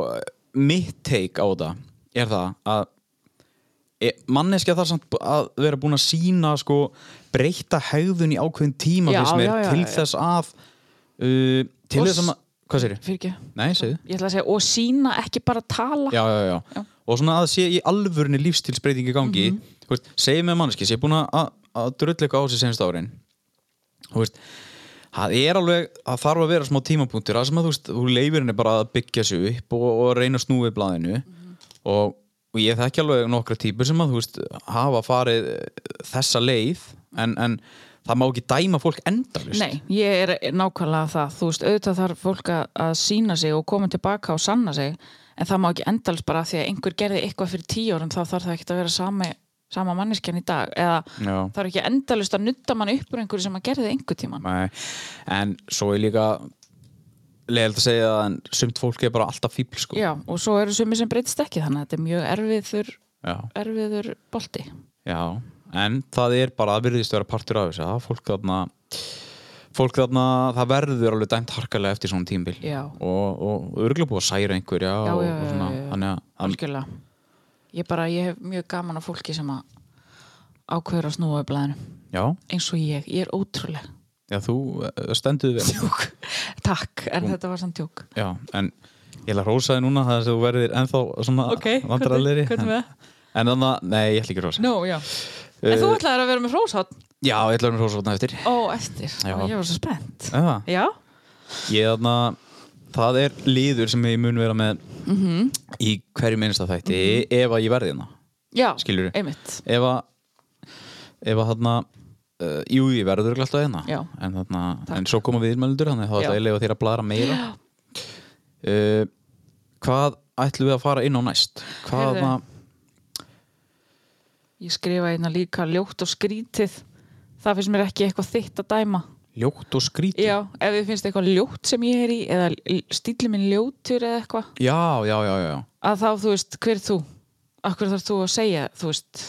mitt take á þetta er það að e, manneskja þar samt b- að vera búin að sína sko, breyta hegðun í ákveðin tíma Já, finnst mér, já, já, til já. þess að uh, til Og þess að s- ma- hvað sér fyrir ekki Nei, segðu ég ætla að segja, og sína ekki bara tala já, já, já, Já. og svona að sé í alvörni lífstilsbreyting í gangi mm veist, segi með mannski, sé búin að- að að drull eitthvað á þessi senst árin þú veist, það er alveg það þarf að vera smá tímapunktur það sem að þú, veist, þú leifir henni bara að byggja sig upp og, og reyna að snúið blaðinu og, og ég þekki alveg nokkra típur sem að þú veist, hafa farið eh, þessa leið en, en það má ekki dæma fólk endalist Nei, ég er nákvæmlega það þú veist, auðvitað þarf fólk að, að sína sig og koma tilbaka og sanna sig en það má ekki endalst bara af því að einhver gerði eitthvað fyrir tíu árum þá þarf það ekki að vera sami, sama manneskjan í dag eða Já. það er ekki endalust að nutta mann upp úr einhverju sem maður gerði einhver tíman Nei, en svo er líka leiðilegt að segja það en sumt fólk er bara alltaf fíbl sko. Já, og svo eru sumi sem breytist ekki þannig að þetta er mjög erfiður, Já, erfiður bolti já, en það er bara að virðist vera partur af þessu það fólk þarna fólk þarna, það verður alveg dæmt harkalega eftir svona tímbil Já. og, og örgulega búið að særa einhverja Já, og, já, og já, svona, já, já. þannig að- að algjörlega ég bara, ég hef mjög gaman á fólki sem að ákveður að snúa upp blæðinu já, eins og ég, ég er ótrúleg já, þú eh, stendur vel tjók takk, en þetta var samt tjók já, en ég ætla að rósa þið núna þess að þú verðir ennþá svona vandræðalegri. hvernig með það? en þannig að, nei, ég ætla ekki að rósa Nú, já. En þú ætlaðir að vera með fróshátt já, ég ætla að rósa þarna eftir Eh, Ó, eftir, Já. ég var svo spennt eða Já, Ég þarna, það er líður sem ég mun vera með í hverju minnsta þætti ef að ég verði hérna, já, skilur við einmitt ef að, ef að þarna uh, jú, ég verður örugglega alltaf hérna Já. en, þarna, en svo koma við innmælundur þannig að þá Já. ætla ég að leifa þér að blara meira uh, Hvað ætlum við að fara inn á næst? Hvað hérna, Heyrðu. þarna, Ég skrifa hérna líka ljótt og skrítið Það finnst mér ekki eitthvað þitt að dæma ljótt og skrítið? Já, ef þið finnst eitthvað ljótt sem ég er í eða stíli minn ljótur eða eitthvað Já, já, já, já, að þá, þú veist, hver ert þú? Akkur þarf þú að segja, þú veist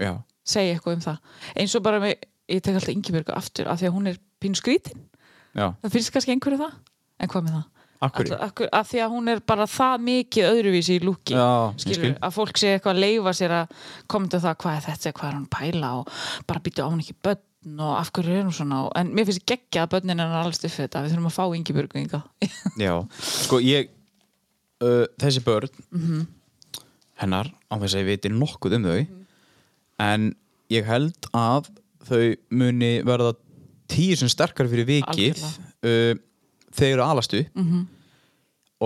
já. segja eitthvað um það eins og bara með, ég tek alltaf Ingibjörgu aftur af því að hún er pínu skrítin já. það finnst kannski einhverju það, en hvað með það? Af hverju? Alla- akkur- af því að hún er bara það mikið öðruvísi í lúki Já, ég skilur, skil. að fólk sé eitthvað að leifa sér að koma til það hvað er þetta, hvað er hún að pæla og bara býta á hún ekki börn og af hverju er hún svona og, en mér finnst geggja að börnin er alveg stuffið þetta við þurfum að fá Ingibjörgu ynga Já, sko ég uh, þessi börn hennar, á þess að ég viti nokkuð um þau en ég held að þau muni verða tíu sem sterkar fyrir vikið uh, þegar þau alastu -hmm.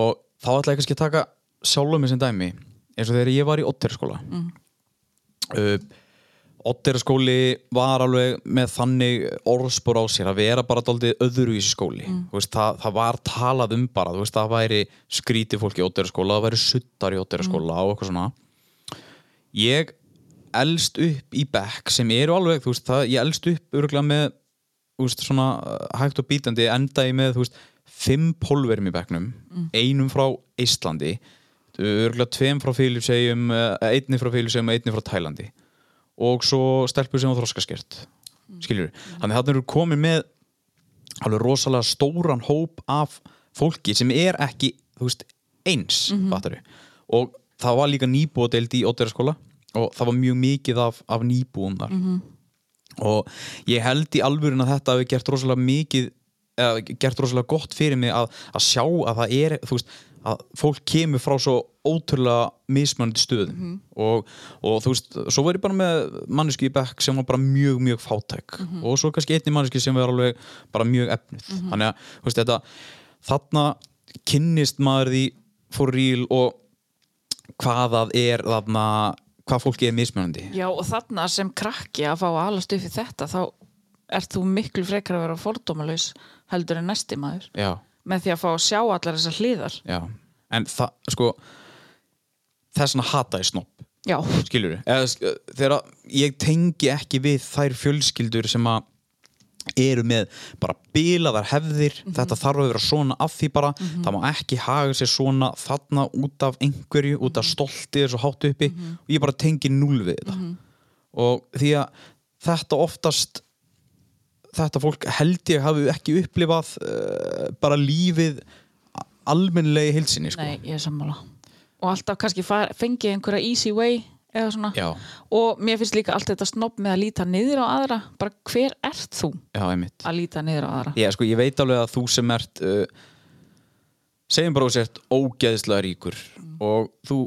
og þá ætla ég kannski að taka sjálfum mig sem dæmi eins og þegar ég var í Otteraskóla mm. uh, Otteraskóli var alveg með þannig orðspor á sér að vera bara daldið öðruvísi skóli Þú veist, það, það var talað um bara þú veist, það væri skrítið fólk í Otteraskóla það væri suttar í Otteraskóla og eitthvað svona ég elst upp í bekk sem eru alveg, þú veist, það, ég elst upp örgulega með, þú veist, svona uh, hægt og bítandi, enda ég með, þú veist fimm pólverum í bekknum einum frá Íslandi örgulega tveim frá Fílipsegjum einni frá Fílipsegjum og einni frá Tælandi og svo stelpur sem á þroskaskert skiljur, þannig þannig eru komin með alveg rosalega stóran hóp af fólki sem er ekki þú veist, eins mm og það var líka nýbúadeild í Ótteraskóla og það var mjög mikið af, af nýbúum þar og ég held í alvörun að þetta hafi gert rosalega mikið eða, gert rosalega gott fyrir mig að, að sjá að það er þú veist, að fólk kemur frá svo ótrúlega mismunandi stöðum og, og þú veist, svo var ég bara með manneski í bekk sem var bara mjög mjög fátæk og svo kannski einni manneski sem var alveg bara mjög efnuð þannig að þú veist, þetta, þarna kynnist maður því for real og hvað það er þarna, hvað fólki er mismunandi Já, og þarna sem krakki að fá að alast upp í þetta þá ert þú miklu frekar að vera fordómalaus heldur en næsti maður Já, með því að fá að sjá allar þessar hliðar já En það, sko þess vegna hata ég snopp, Já, skilur við Þegar að- ég tengi ekki við þær fjölskyldur sem að eru með bara bilaðar hefðir þetta þarf að vera svona af því bara það má ekki haga sér svona þarna út af einhverju, út af stoltið þessu hátt uppi og ég bara tengi núl við þetta og því að þetta oftast þetta fólk held ég hafi ekki upplifað uh, bara lífið almennlega í heilsinni sko. nei, ég er sammála og alltaf kannski far, fengið einhverja easy way eða svona Já. og mér finnst líka allt þetta snopp með að líta niður á aðra bara hver ert þú Já, einmitt að líta niður á aðra Já, sko, ég veit alveg að þú sem ert uh, segjum bara að þú sért ógeðslega ríkur og þú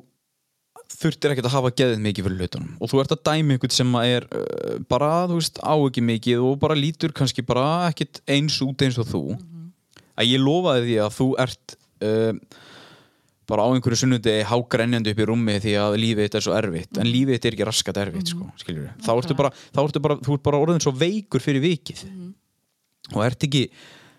þurftir ekkert að hafa geðið mikið fyrir hlutunum og þú ert að dæmi einhvern sem að er uh, bara, þú veist, á ekki mikið og bara lítur kannski bara ekkert eins út eins og þú að ég lofaði því að þú ert uh, bara á einhverju sunnudegi hágrenjandi upp í rúmi því að lífið þetta er svo erfitt en lífið þetta er ekki raskat erfitt, Mhm. sko, skiljur þá ertu bara, þá ertu bara, þú ert bara orðin svo veikur fyrir vikið Mhm. og ert ekki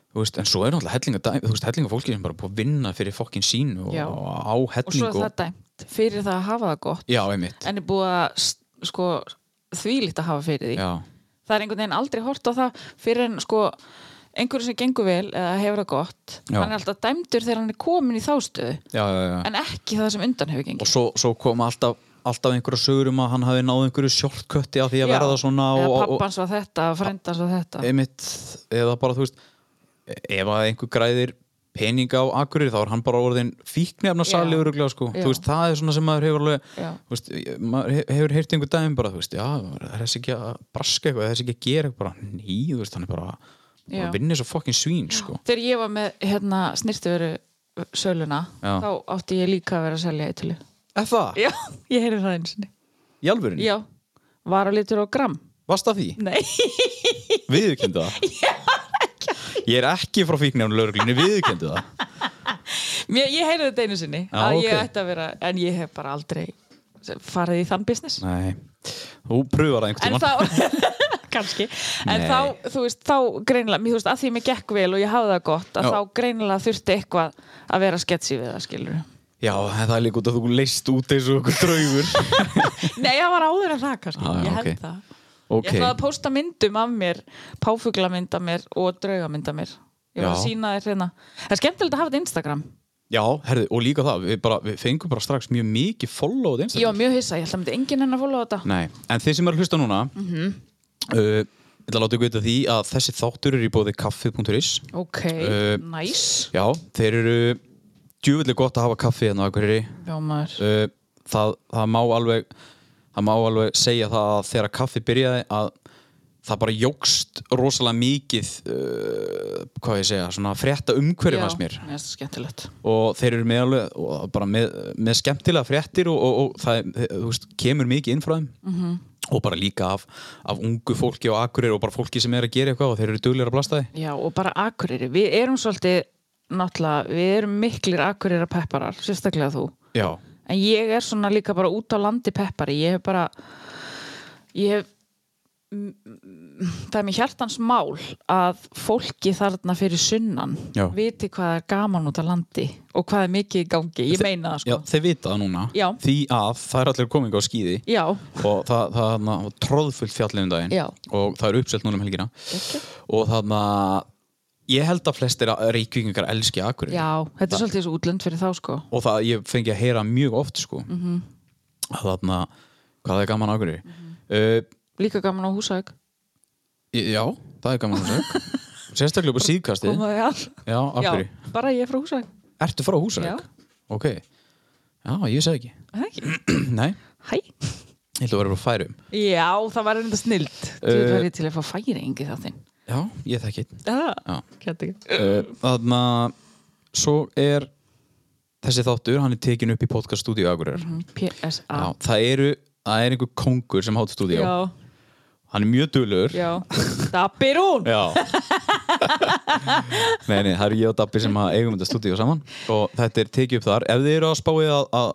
þú veist, en svo er náttúrulega hellinga, dæmi- þú veist, hellinga fólki sem bara er búið að vinna fyrir fokkin sín og, Já. og á og svo helling er það dæmt fyrir það að hafa það gott já, einmitt en er búið að s- sko, þvílíkt að hafa fyrir því já, það er einhvern veginn aldrei hort á það fyrir en sko einhverju sem gengur vel eða hefur það gott Já. hann er alltaf dæmdur þegar hann er komin í þá stöðu já, já, já. en ekki það sem undan hefur og gengið svo, svo kom alltaf alltaf einhverja sögur um að hann hafi náð einhverju sjortkötti af því að Já. verða svona og, eða og, og, pappans var þetta, frendans var þetta einmitt, eða bara þú veist ef að einhver græðir peninga á akkurir þá er hann bara orðin fíknefna sali Já. öruglega sko, Já. þú veist, það er svona sem maður hefur alveg, Já. þú veist, ég- maður he- hefur heyrt einhver daginn bara, þú veist, já, það er þessi ekki að braska eitthvað, það er þessi ekki að gera eitthvað bara, ný, þú veist, hann er bara Já. bara vinnir svo fokkin svín, sko þegar ég var með hérna snirtiveru söluna Já. þá átti ég líka að vera að selja eitthvað Er það? já, ég heyrði það eins og Í alvörinu? já, var að litur á gram Vast af því? nei, Viðurkendu það? Ég er ekki frá fíknefna lögreglunni, viðurkendu það? Mér, ég heyrði þetta einu sinni Já, að ég ok. ætti að vera, en ég hef bara aldrei farið í þann business Nei, þú pröfar það einhvern en tímann þá kannski, en Nei. þá þú veist, þá greinilega, mér þú veist, að því mér gekk vel og ég hafði það gott, að Já. þá greinilega þurfti eitthvað að vera sketsi við það, skilur Já, það er líka út að þú leist út eins og okkur draugur nei, það var áður en það kannski, Ah, já, ég held ok. það Ok, ég ætlaði að posta myndum af mér páfuglamynd af mér og draugamynd af mér ég Já. var að sína þér hérna það er skemmtilegt að hafa þetta Instagram já, herðu, og líka það, við, bara, við fengum bara strax mjög mikið followed ég Instagram var mjög hissa, ég held að myndi enginn hennar fólu á þetta Nei, en þið sem eru að hlusta núna Mhm. uh, ég ætla að láta ykkur vita því að þessi þáttur eru í bóði kaffi.is ok, Eh, næs nice. Já, þeir eru djúvillig gott að hafa kaffi hérna á Akureyri já maður, uh, það, það má alveg það má alveg segja það að þegar kaffi byrjaði að það bara jógst rosalega mikið uh, hvað ég segja, svona frétta umhverjum hans mér mér finnst það skemmtilegt og þeir eru með alveg og bara með, með skemmtilega fréttir og, og, og það er- þú veist, kemur mikið inn frá þeim -hmm. Mhm. og bara líka af, af ungu fólki og akkurir og bara fólki sem er að gera eitthvað og þeir eru duglir að blasta því Já, og bara akureyri. Við erum svolítið, náttúrulega, við erum miklir akureyra pepparar, sérstaklega þú. Já, En ég er svona líka bara út á landi peppari. Ég hef bara, ég hef, m- m- það er mér hjartans mál að fólki þarna fyrir sunnan Já. viti hvað er gaman út á landi og hvað er mikið í gangi. Ég meina það, Já sko. þeir vita það núna Já. því að það er allir kominga á skýði Já. og það, það, það, það tróðfullt fjallið um daginn Já. og það er uppselt núna um helgina Ekki. og þannig að ég held að flestir að reykvingar elski akkurinn Já, þetta er svolítið svo útlönd fyrir þá, sko. og það ég fengi að heyra mjög oft sko Mhm. -hmm. að þarna hvað það er gaman akkurinn mm Líka gaman á húsæk. já, það er gaman húsæk sérstaklega upp á síðkasti Komaði all. já, akkurinn, Já, bara ég er frá húsæk. ertu frá húsæk? Já. ok, já, ég segi ekki Það ekki. nei, Hæ. ég held að vera bara færum Já, það var enda snilt Þú Eh, verður til að fá færingi þáttinn já, ég þekki einn. Já, já gæti ekki Þannig að svo er þessi þáttur, hann er tekin upp í podcast stúdíu Akureyrar. Mhm. Mm, PSA Já, það eru, það er einhver kongur sem hátt stúdíu. Já, Hann er mjög dulur. já Dabbir hún nei, um nei, það eru ég og Dabbi sem að eigum þetta stúdíu saman og þetta er tekið upp þar. Ef þið eru að spáið að, að,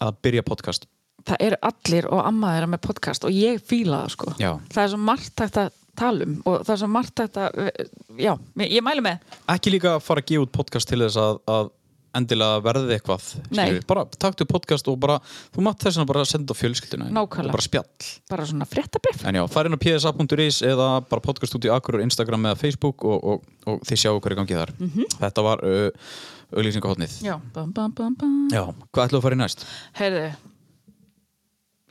að byrja podcast það eru allir og amma þeirra með podcast og ég fíla það sko Já. það er svo margt hægt að tala um og það er svo margt hægt að eh, já, ég, ég mælu með ekki líka að fara að gefa út podcast til þess að, að endilega verði eitthvað Nei. skilurðu. bara taktu podcast og bara þú mátt þess að bara senda á fjölskylduna þína. Nákvæmlega. og bara spjall bara svona fréttabrif en já, fara inn á psa.is eða bara podcast út í Akurur, Instagram eða Facebook og, og, og þið sjáu hverju gangi þar þetta var uh, auglýsingahotnið Mhm. já, bam, bam, bam, bam. já, hvað ætlaðu að fara í næst? heyrðu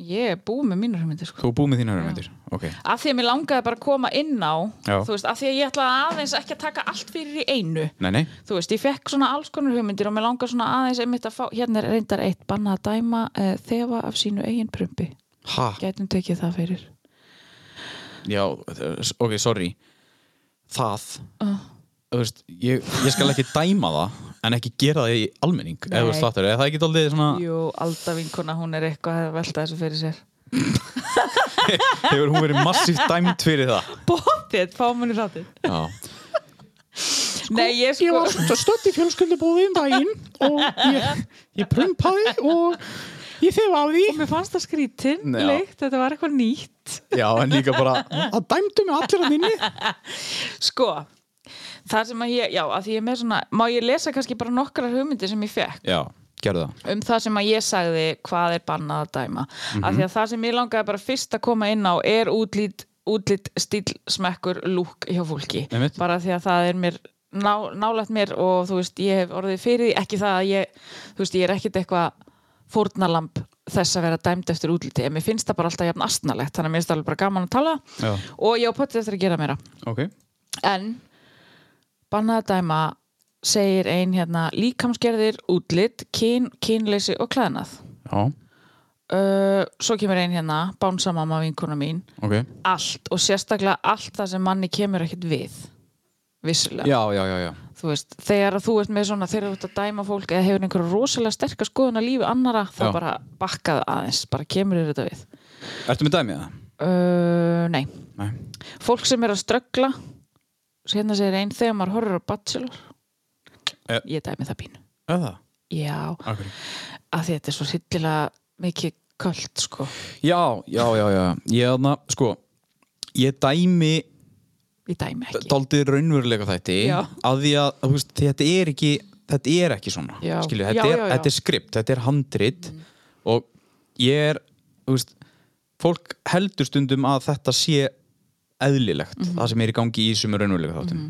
ég er búið með mínur hugmyndir sko Þú er búið með þína hörmyndir? Ok, af því að mér langaði bara að koma inn á Já. þú veist, af því að ég ætlaði aðeins ekki að taka allt fyrir í einu nei, nei þú veist, ég fekk svona alls konar hugmyndir og mér langaði svona aðeins einmitt að fá hérna er reyndar eitt bannað að dæma uh, þefa af sínu eigin prumpi Ha, gætum tekið það fyrir já, þ- ok, sorry Það uh, þú veist, ég, ég skal ekki dæma það en ekki gera það í almenning Nei. eða þú veist það er, það ekki aldrei svona Ah. Jú, Alda vinkona, hún er eitthvað að velta þessu fyrir sér hefur hún verið massíft dæmt fyrir það Bóttið, fámunni hráttir Já, Nei, ég sko svo stödd í fjölskyldubúðin daginn og ég, ég prumpaði og ég þef af því og mér fannst það skrítin, Já. leikt, þetta var eitthvað nýtt Já, en líka bara, það dæmdu mig allir að inni Sko, það sem að ég, já, að því ég er með svona Má ég lesa kannski bara nokkrar hugmyndir sem ég fekk Já, gerðu það um það sem að ég sagði hvað er bannað að dæma af því að það sem ég langaði bara fyrst að koma inn á er útlít, útlít stíl, smekkur, lúk hjá fólki Einmitt. bara því að það er mér ná, nálægt mér og þú veist ég hef orðið fyrir því, ekki það að ég þú veist ég er ekkit eitthvað fórnalamb þess að vera dæmd eftir útliti en mér finnst það bara alltaf jafn astnalegt þannig að mér finnst það alveg bara gaman að tala Já. og ég á potið eftir að gera meira Ok, En bannað að dæma segir ein hérna líkamsgerðir, útlit, kyn, kynleysi og klæðnað. já, Uh, svo kemur ein hérna, bánsa mamma vinkona mín, ok allt og sérstaklega allt það sem manni kemur ekkert við. Vissulega. Já, já, já, já Þú veist, þegar að þú ert með svona, þegar þú ert að dæma fólk eða hefur einhverja rosalega sterkar skoðun að lífi annara, þá Já. bara bakkaðu aðeins, bara kemur þér þetta við. Ertu með dæmið það? Uh, nei. Nei Fólk sem er að ströggla, hérna segir einn, þegar maður horfir á bachelor, Eh. ég dæmi það pínu. Eða, Já, akkur að því þetta er svo sýttilega mikið köld, sko. Já, já, já, já Ég, þarna, sko, ég dæmi Ég dæmi ekki. daldið raunveruleika þætti Já. að því að þú veist, þetta er ekki þetta er ekki svona Já. skilju, Já, þetta, er, já, Mm. já. þetta er skript, þetta er handrit og ég er þú veist, fólk heldur stundum að þetta sé eðlilegt Mhm. það sem er í gangi í sumur raunveruleika þáttum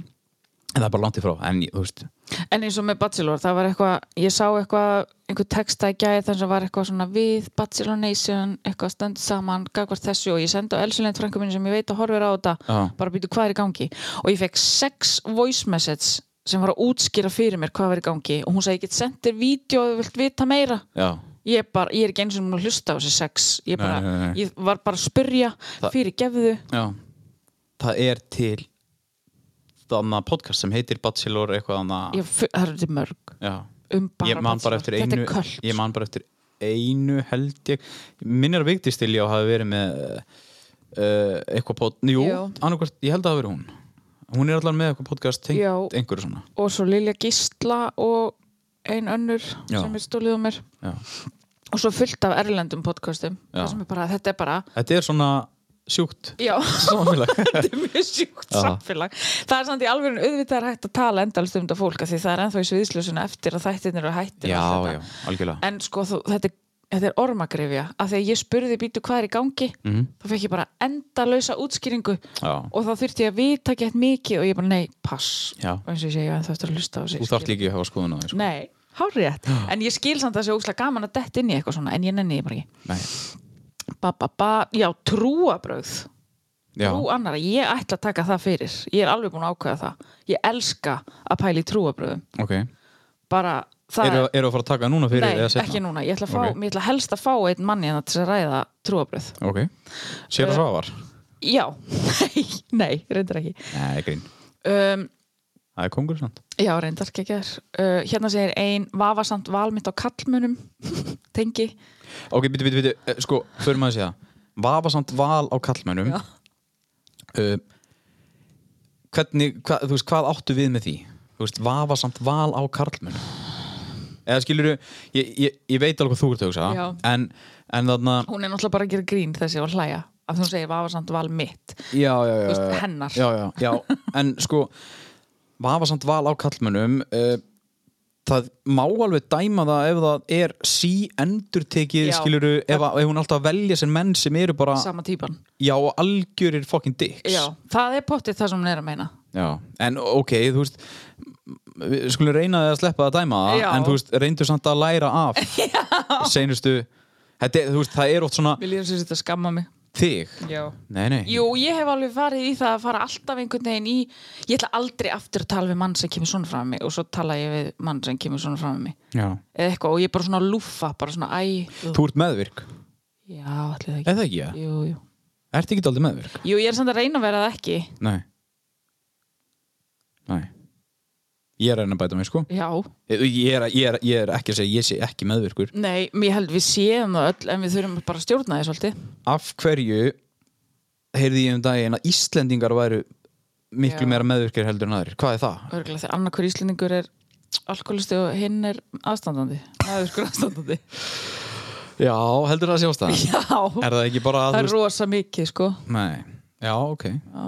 en það er bara langt í frá en ég- þú veist, En eins og með Bachelor, það var eitthvað, ég sá eitthvað, einhver texta í gæði þannig að var eitthvað svona við Bachelor Nation, eitthvað stönd saman, gagvart þessu og ég sendi á Elsulind frænku mínu sem ég veit að horfir á þetta, Já. bara býtu hvað er í gangi. Og ég fekk sex voice messages sem var að útskýra fyrir mér hvað var í gangi og hún sagði, ég get sendir vídeo og þú vilt vita meira. já Ég er, bara, ég er ekki eins og mér að hlusta á þessi sex, ég, Nei, bara, nei, nei. ég var bara að spyrja, Það- fyrir gefðu, Já, það er til þannig podcast sem heitir Bachelor eitthvað annað Ég fu- það eru þetta mörg Já. um bara ég man bara eftir Bachelor. einu þetta er köld ég man bara eftir einu held ég minnir að Vigdís til ég hafi verið með uh, eitthvað pod, jú, Já. annarkvært, ég held að það hafi verið hún hún er allar með eitthvað podcast tengt Já. einhverju svona og svo Lilja Gísla og ein önnur Já. sem er stólið um mér Já. og svo fullt af erlendum podcastum Já. Það sem er bara, þetta er bara þetta er svona sjúkt já, samfélag þetta er mjög sjúkt Já. samfélag það er samt í alveg auðvitað er hægt að tala endalst um þetta fólk af því það er ennþá í sviðsljósuna eftir að þættin eru hættir já, já, algjörlega en sko þú, þetta, er- þetta er ormagrifja af því að ég spurði býtu hvað er í gangi Mhm. þá fekk ég bara endalösa útskýringu já. og þá þurfti ég að vita gett mikið og ég bara nei, pass Já. og eins og ég segi, ég á ennþá eftir að hlusta á sig þú þarft líka að hafa skoðun á því sko. Nei, hárrétt En ég skil samt að það sé óslega gaman að detta inn í eitthvað svona En ég nenni því bara ekki Nei. ba, ba, ba, Já, trúabrögð já, Trú annara, ég ætla að taka það fyrir Ég er alveg búin að ákveða það Ég elska að pæla í trúabröðum ok Bara það eru eru að fara að taka núna fyrir Nei, eða seinna? ekki núna, ég ætla, að fá, Ok. ég ætla helst að fá einn manni en til að ræða trúabröð ok, sér Eh. að svavar Já, nei, nei, reyndar ekki nei, grín, um, það er kongur samt Já, reyndar ekki ekki uh, Hérna segir ein vafasamt valmynd á kallmunum Tengi Ok, bíti, bíti, bíti, eh, sko, förum að segja Vafasamt val á kallmennum Já. uh, Hvernig, hva, þú veist, hvað áttu við með því? Þú veist, vafasamt val á kallmennum eða skilur ég, ég, ég veit alveg hvað þú ert að hugsa Já. en, en þarna hún er náttúrulega bara að gera grín þessi og hlæja af því hún segir vafasamt val mitt já, já, já, Þú veist, já, já. hennar. já, já, já. en sko vafasamt val á kallmönnum uh, það má alveg dæma það ef það er sí endurtekið Já. skiluru ef, að- ef hún er alltaf að velja sér menn sem eru bara sama típan já og algjörir fucking dicks já, það er pottið það sem hún er að meina Já, en ok, þú veist við skulum reyna að sleppa að dæma það Já. en þú veist, reyndu samt að læra af seinustu þetta, er- þú veist, það er oft svona vil ég þess að skamma mig þig já Nei, nei, Jú, ég hef alveg farið í það að fara alltaf einhvern veginn í Ég ætla aldrei aftur að tala við mann sem kemur svona fram með mig og svo tala ég við mann sem kemur svona fram með mig já eða eitthvað og ég er bara svona að lúffa bara svona æ, ugh. Þú ert meðvirk, já, allir það ekki eða ekki það? jú, jú. Ertu ekki aldrei meðvirk? jú, ég er samt að reyna að vera það ekki Nei Nei Ég er að reyna að bæta mig, sko já, Ég ég er, að- ég er, ég er ekki að segja, ég sé ekki meðvirkur nei, mér held við séum það öll en við þurfum bara að stjórna því svolítið Af hverju heyrði ég um daginn að Íslendingar væru miklu Já. meira meðvirkir heldur en aðrir Hvað er það? örgulega þegar annarkur íslendingur er alkoholisti og hinn er aðstandandi maður skur aðstandandi Já, heldur það að sjást það? já, Er það ekki bara að það þú er veist rosa mikið sko Nei, já, ok já,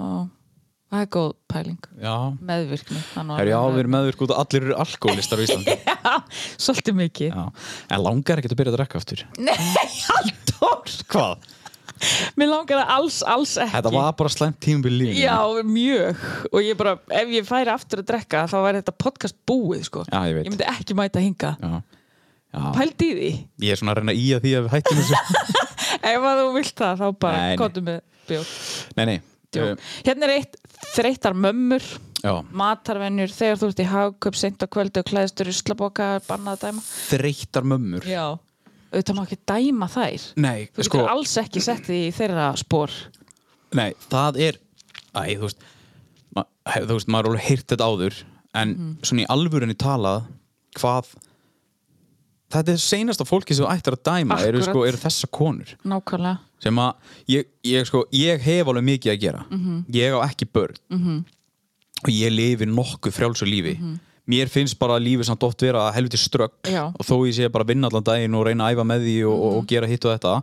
það er góð pæling Já, meðvirkni það nú Her, já alveg- við erum meðvirk út að allir eru alkoholistar á Íslandi já, svolítið mikið já. En langar ekki að byrja að drekka aftur nei, Halldór Hvað? mér langar það alls, alls ekki Þetta var bara slæmt tímabil lífinu Já, mjög og ég bara, ef ég færi aftur að drekka þá væri þetta podcast búið sko Já, ég veit. myndi ekki mæta hinga já. já, Pældi í því, ég er svona að reyna í að því að við hættum þessu ef að þú vilt það þá bara Nei, nei. kottum við bjór Nei, nei Djó. uh, Hérna er eitt þreytar mömmur Já, matarvenjur þegar þú ert í hagköp seint á kvöldu og klæðistur í slaboka bannað að dæma þreytar mömmur Já auðvitað má ekki dæma þær Nei, þú sko getur alls ekki sett því í þeirra spór Nei, það er Æ, þú veist ma, hef, Þú veist, maður er alveg heyrt þetta áður En svona í alvörunni talað Hvað Þetta er seinasta fólki sem þú ættir að dæma eru, Akkurat. sko, eru þessa konur nákvæmlega sem að ég, ég, sko, ég hef alveg mikið að gera Mhm. ég á ekki börn -hmm. og ég lifi nokkuð frjálsu lífi mér finnst bara lífið samt oft vera helviti strögg Mhm. Já. Mhm. og þó ég sé bara að vinna allan daginn og reyna að æfa með því og, og, og gera hitt og þetta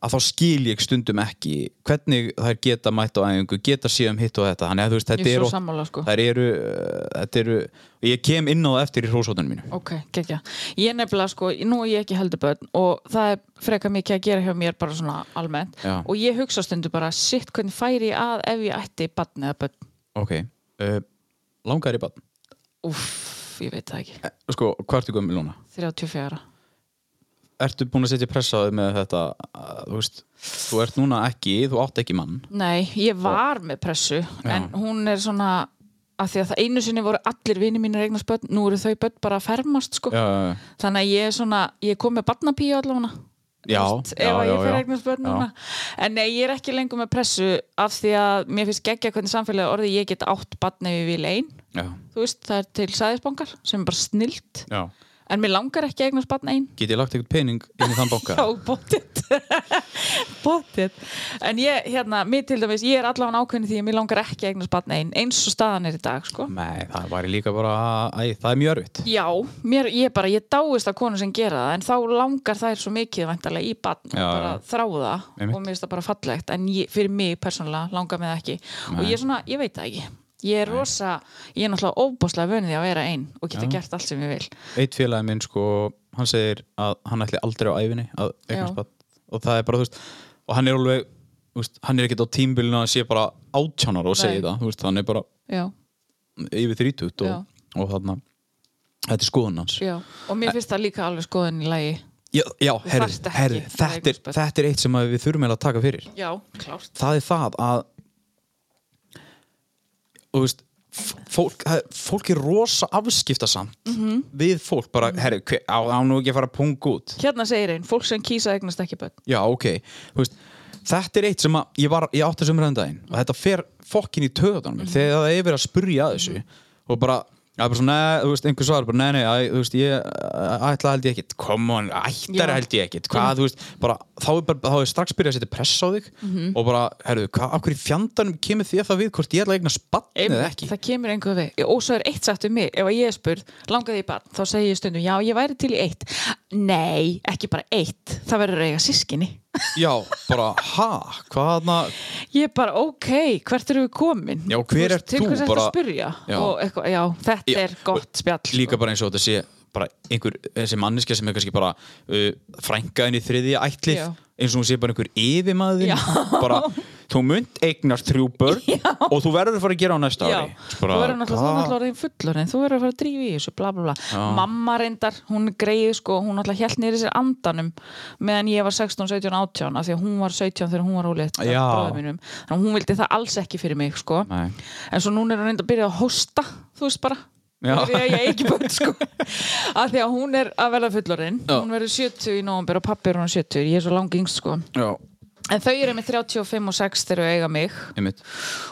að þá skil ég stundum ekki hvernig þær geta mætt á æfingu geta síðan hitt og þetta þannig að þú veist ég þetta er eru svo sammála sko þær eru, uh, þetta eru og ég kem inn á það eftir í hrósóttunum mínu Ok, gekkja. Ég nefnilega sko, nú er ég ekki heldur börn og það er frekar mikið að gera hjá mér bara svona almennt Já. og ég hugsa stundu bara, sitt hvernig færi ég að ef ég ætti barn eða börn. ok, uh, langar í bann Úff, ég veit það ekki. sko, hvað ertu gömul núna? 34. ertu búin að setja pressaði með þetta að, þú veist, þú ert núna ekki þú átt ekki mann Nei, ég var með pressu en hún er svona, að því að það einu sinni voru allir vini mínir eignast börn, nú eru þau börn bara að fermast sko. já, já, Þannig að ég er svona, ég kom með barnapíu allavega. já, Þú veist, já, ef að já, ég já. fer að eignast börn Já. núna en nei, ég er ekki lengur með pressu af því að mér finnst geggja hvernig samfélagi orðið ég get átt barn ef ég vil ein já, þú veist, það er til sæðisbangar sem er bara snilt já. en mér langar ekki að eignast barn ein get ég lagt eitthvað pening inn í þann banka Já, bóttið Bóttið En ég, hérna, mér til dæmis, ég er allavega ákveðin í því að mér langar ekki að eignast barn ein eins og staðan er í dag, sko nei, það væri líka bara æ, það er mjög örfitt Já, mér, ég bara, ég dáist að konu sem gera það en þá langar þær svo mikið væntalega í barn og Já, bara já. þrá það Einmitt. og mér finnst það bara fallegt en ég, fyrir mig persónulega langar mig það ekki og ég er svona, ég veit það ekki ég er rosa, ég er náttúrulega óbáslega vönið að vera einn og geta gert allt sem ég vil eitt félagi minn, sko, hann segir að hann ætli aldrei á æfinni að Já. eignast bann og það er bara, þú veist og hann er alveg, þú veist, hann er ekkert á tímbilinu að sé bara átjánar og Nei. segja það þú veist, hann er bara Já, yfir þrítut Já. og, og þarna þetta er skoðun hans já, og mér finnst það líka alveg skoðin í lagi Já, já herri, þarft ekki herri, að þetta, er, eignast börn. þetta er eitt sem að við þurfum eiginlega að taka fyrir Já, klárt Það er það að þú veist, f- fólk, það er- fólk er rosa afskiptasamt Mhm. -hmm. við fólk bara, herri, hver, á, á nú ekki að fara að punga út Hérna segir einn, fólk sem kýsa að eignast ekki börn Já, ok, þú veist Þetta er eitt sem að ég, var, ég um átti sem ræðan daginn og þetta fer fokkin í töðunum mm -hmm. þegar það er verið að spurja að þessu og bara, Það er bara svona, "Nei," þú veist, einhver svar bara, nei, nei, æ, þú veist, ég æ, ætla held ég ekkit, come on, ættar Já. held ég ekkit, hvað, þú veist, bara, þá er, bara, þá er strax byrjað að setja press á þig og bara, herru, hvað, af hverju í fjandanum kemur þér það við hvort ég ætla að eigna spannið eða ekki? það kemur einhver við og svo er eitt sagt um mig, ef að ég er spurð langaði ég barn, þá segi ég stundum já, ég væri til í eitt nei, ekki bara eitt, það verður að eiga sískinni Já, bara, ha, hvaðna, ég er bara, ok, hvert eru við komin Já, hver Þú veist, ert til þú? hvers ertu Bara- að spyrja Já. og eitthvað, já, þetta Já, er gott spjall líka bara eins og þetta sé, bara einhver, þessi manneskja sem er kannski bara uh, frænkaðin í þriðja ætlið, Já. eins og hún sé bara einhver yfirmaðin, Já. bara, þú munt eignast þrjú börn og þú verður að fara að gera á næsta Já, ári. þú Bara, verður náttúrulega, þú hvað? náttúrulega orðin fullorinn, þú verður að fara að drífa í þessu, bla bla bla. Já. Mamma reyndar, hún greið sko, hún náttúrulega hjælt niður í sér andanum meðan ég var 16, 17, 18, af því að hún var 17 þegar hún var ólétt af Já. bróður mínum. Þannig að hún vildi það alls ekki fyrir mig, sko. Nei. En svo núna er hún reyndar að byrja að hósta, þú veist bara. Já. Af Því að ég eigi ekki börn, sko. Af því að hún er að verða fullorinn, Já. hún verður 70 í nóvambir og pappi er hún 70, ég er svo langingst, sko. Já, En þau eru með 35 og 6 þegar þau eiga mig einmitt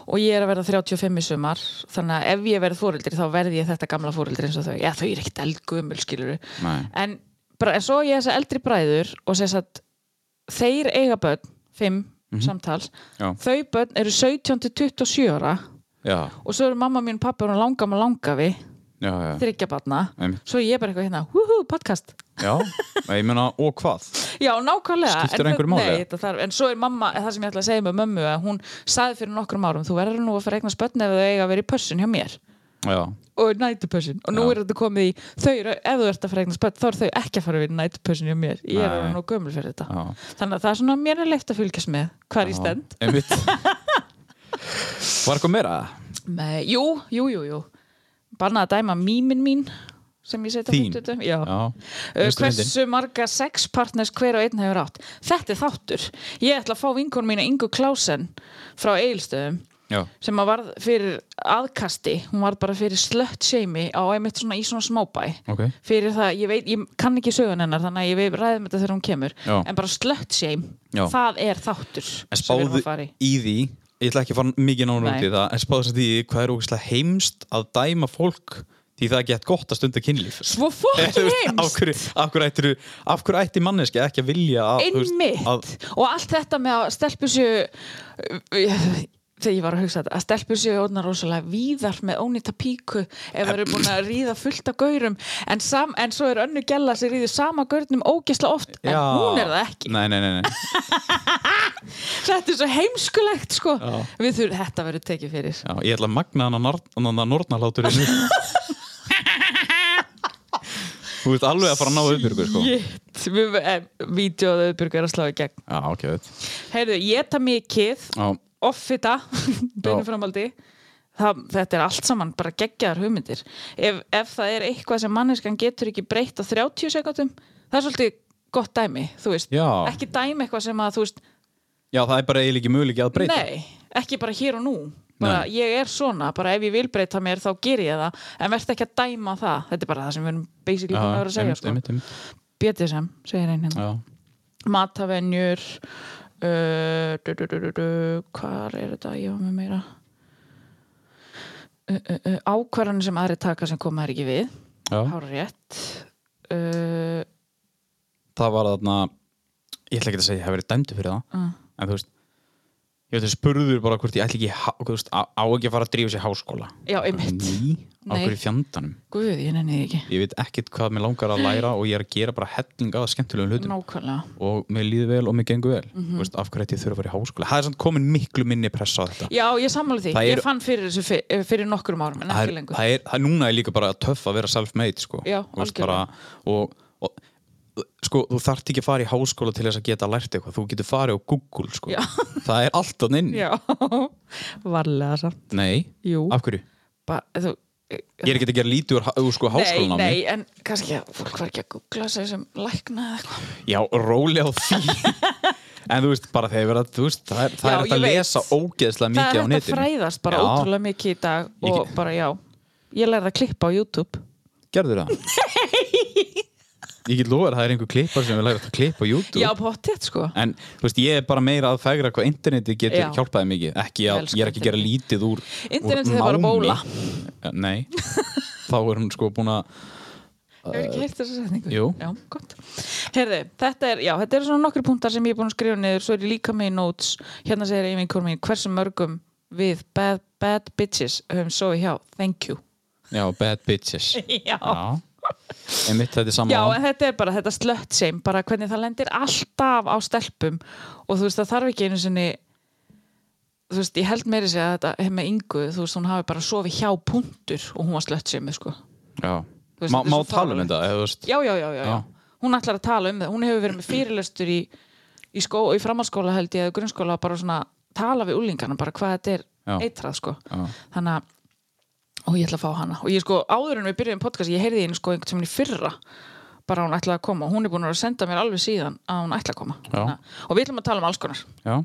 og ég er að verða 35 í sumar þannig að ef ég verð fóreldri þá verð ég þetta gamla fóreldri eins og þau, já þau eru ekkert eldgumul skilur Nei. en, bara, en svo á ég þess að eldri bræður og sess að þeir eiga börn, 5 samtals Mhm. Já. þau börn eru 17 til 27 ára Já, og svo eru mamma mín og pappa og langa með langafi já, já, þryggja barna, Einmitt. svo er ég bara eitthvað hérna húhú, podcast já. Ég meina, og hvað? Já, nákvæmlega. Skiptir En einhverju það- máli? Nei, þetta þarf, en svo er mamma, það sem ég ætla að segja með mömmu, að hún saði fyrir nokkrum árum, þú verður nú að fara að eigna spötni ef þau eiga að vera í pössun hjá mér. Já, og nætupössin og nú Já. er þetta komið í þau eru, ef þú ert að fara eignast börn, þá eru þau ekki að fara við nætupössin hjá mér, ég er Nei. alveg nú gömul fyrir þetta já þannig að það er svona mér er leift að fylgjast með hvar já. ég stend Einmitt Var eitthvað meira? með, jú, jú, jú, jú bannað að dæma mímin mín sem ég setja á Þín? Facebooku. Já, Já. Uh, Fyrstu myndin. hversu marga sexpartners hver og einn hefur átt þetta er þáttur, ég ætla að fá vinkonum mína Ingu Klásen frá Egilstöðum já, sem að varð fyrir aðkasti, hún varð bara fyrir slött seimi á einmitt svona í svona smábæ ok fyrir það, ég veit, ég kann ekki sögun hennar þannig að ég veit ræðum þetta þegar hún kemur Já. en bara slött shame, Já. það er þáttur En sem við erum spáðu að fara í. í því Ég ætla ekki að fara mikið nánu út Nei. í það En spáðu þess að því hvað er ógeðslega heimst að dæma fólk Því það er gett gott að stunda kynlíf svo Eh, þú fokkin veist, Af heimst hverju, af hverju, ættir, af hverju ætti manneski ekki að vilja að, þú veist, einmitt að, og allt þetta með að stelpur séu þegar ég var að hugsa þetta að stelpur séu orðnar rosalega víðar með ónýta píku ef það eru búin að ríða fullt af gaurum en, sam, en svo er önnu gæla sem ríður sama gaurnum ógisla oft en Já. hún er það ekki Nei, nei, nei, nei þetta er svo heimskulegt sko Já. við þurfum þetta verður tekið fyrir já, Ég ætla að magna hana norna, nornalátur Þú veist alveg að fara að ná uppbyrgu sko. Shit, við, eh, vídeóðu uppbyrgu er að slá í gegn Já, ok, veit Heyrðu, geta mikið, Já, offita beinu Já. framaldi Það, þetta er allt saman bara geggjaðar hugmyndir ef, ef það er eitthvað sem manneskan getur ekki breytt á 30 sekundum það er svolítið gott dæmi þú veist, Já. ekki dæmi eitthvað sem að þú veist, já það er bara eiginlega ekki möguleiki að breyta nei, ekki bara hér og nú bara Nei. ég er svona, bara ef ég vil breyta mér þá ger ég það, en verð ekki að dæma það þetta er bara það sem við erum basically búin að vera að segja sko. einmitt, einmitt. BDSM, segir einn hérna Já. matavenjur uh, du, du, du, du, du, hvar er þetta ég var með meira uh, uh, uh, ákvarðanir sem aðri taka sem koma þær ekki við Já. hára rétt uh, Það var þarna Ég ætla ekki að segja að ég hef verið dæmdu fyrir það uh, En þú veist Ég veit að spurður bara hvort ég ætla ekki í há- þú veist, á, á ekki að fara að drífa sér í háskóla já, einmitt, Ný, á Nei. hverju fjandanum guð, ég nenni því ekki Ég veit ekkert hvað mér langar að læra og ég er að gera bara helling af skemmtilegum hlutum nákvæmlega og mér líður vel og mér gengur vel Mhm. mm veist, af hverju ætti ég þurfa að fara í háskóla Það er samt komin miklu minni pressa á þetta já, ég sammála því, Það ég eru- fann fyrir þessu fyrir, fyrir nokkrum árum, en það ekki er, lengur það er, það er núna er líka bara töff að vera self-made sko. Já, Þú veist, bara, og, og sko, þú þarft ekki að fara í háskóla til þess að geta lært eitthvað, þú getur farið á Google sko. Já. það er allt þannig inn já, varlega samt nei, Jú. af hverju? ba, þú, ég er ekki að gera lítið úr há- úr sko, nei, háskólanámi nei, en kannski að fólk var ekki að googla sig sem lækna eða eitthvað já, róli á því en þú veist, bara þegar verða þú veist, það er, það Já, er hægt að ég veit. lesa ógeðslega það mikið á er hægt að netinu fræðast bara Já. ótrúlega mikið í dag Ég og ge- bara já, ég lærði að klippa á YouTube gerður það? ég get lofa þér að það er einhver klippar sem við lærum að klippa á YouTube já, pottet sko En þú veist, ég er bara meira að fegra hvað interneti getur Já. hjálpaði mikið. Ekki Ég að, elska ég er ekki að gera internetið. lítið úr úr Internetið er bara námi. bóla. Eh, Nei. þá er hún sko búin að Hefur ekki heyrt þessa setningu? jú. Já, gott. Herði, þetta er, já, þetta eru svona nokkri punktar sem ég er búin að skrifa niður, svo er ég líka með í notes, hérna segir einvinn konum mín, hversu mörgum við bad, bad bitches höfum svo hjá, thank you. já, bad bitches Já. já. einmitt þetta er Já, saman en þetta er bara þetta slött sem, bara hvernig það lendir alltaf á stelpum og þú veist, það þarf ekki einu sinni, þú veist, ég held meiri segja að þetta hef með yngu, þú veist, hún hafi bara sofið hjá punktur og hún var slött sem, sko. Já. Þú veist, Má, þetta er má tala svo um fáránlegt. þetta eða, þú veist, já, já, já, já, já. hún ætlar að tala um það hún hefur verið með fyrirlestur í, í, skó, í framhalskóla held ég eða grunnskóla bara svona tala við úlingana bara hvað þetta er Já. eitrað sko Já. þannig að og ég ætla að fá hana og ég sko áður en við byrjuðum podcast ég heyrði einu sko einhvern tímann í fyrra bara að hún ætlaði að koma og hún er búin að vera að senda mér alveg síðan að hún ætla að koma Já. Þannig að- og við ætlum að tala um alls konar já.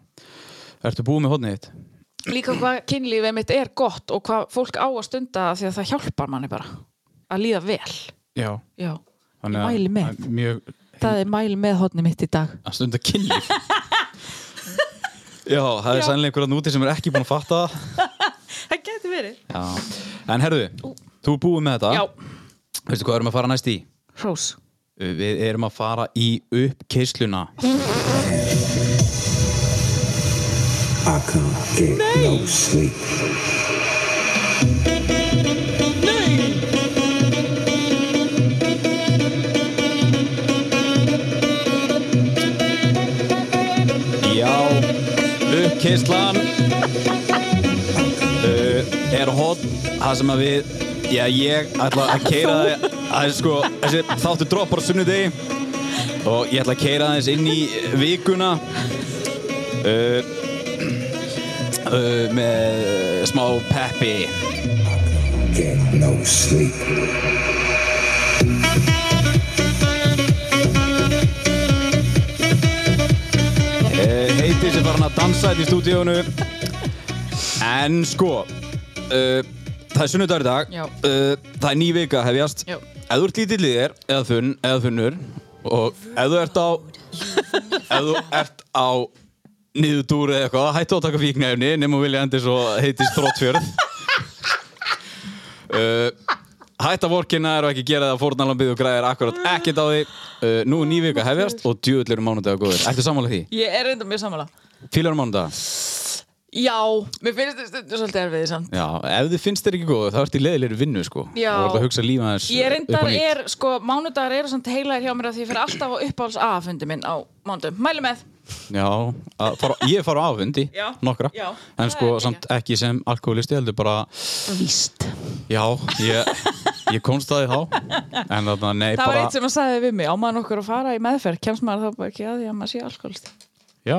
Ertu búið með hodnið þitt? líka hvað kynlífið mitt er gott og hvað fólk á að stunda af því að það hjálpar manni bara að líða vel Já já, ég Þannig að- mæli með að Mjög Það er mæl með hotni mitt í dag. að stunda kynlíf Já, það er Já. sannlega einhverjan úti sem er ekki búin að fatta það Það getur verið. Já. En herðu, þú er búið með þetta Já, Veistu hvað erum að fara næst í? hrós. Eh, Við erum að fara í uppkeisluna I can't get no sleep. Já, uppkeislan uh, er hot það sem að við, já ég ætla að keira það að sko, þessi þáttu droppar á sunnudegi og ég ætla að keira það inn í vikuna uh, uh, með smá peppi Get no sleep. uh, heiti sem var hann að dansa þetta í stúdíónu en sko uh, það er sunnudagur í dag Já. uh, það er ný vika hefjast Já. ef þú ert lítill í þér eða, þunn, eða þunnur og ef þú ert á ef þú ert á niðurdúr eða eitthvað hættu að taka fíknæfni nema vilja endur svo heitist þróttfjörð uh, Hætt að vorkina er og ekki gera það fórnalambið og græðir akkurat ekkert á því uh, Nú er ný vika hefjast og djöðlir um mánudag og góður Ertu sammála því? Ég er reynda mjög sammála. Fílar mánudag? Já, mér finnst þetta stundu svolítið erfiðið samt. Já, ef þið finnst þér ekki góð þá ertu í leðilegri vinnu sko Já. Og ertu að hugsa lífa þess Ég reyndar er, sko, mánudagar eru samt heilaðir hjá mér að því ég fyrir alltaf á uppáhalds A-fundi minn á mánudum. Mæli með. Já, að fara, ég fara á afundi Já. Nokkra Já. Það En sko er ekki. samt ekki sem alkoholisti heldur bara Víst. Já, ég, ég komst að því þá En þarna, nei, Það var bara eitt sem að sagði við mig, á maður okkur að fara í meðferð, kemst maður þá bara ekki að því að maður sé alkoholist. Já,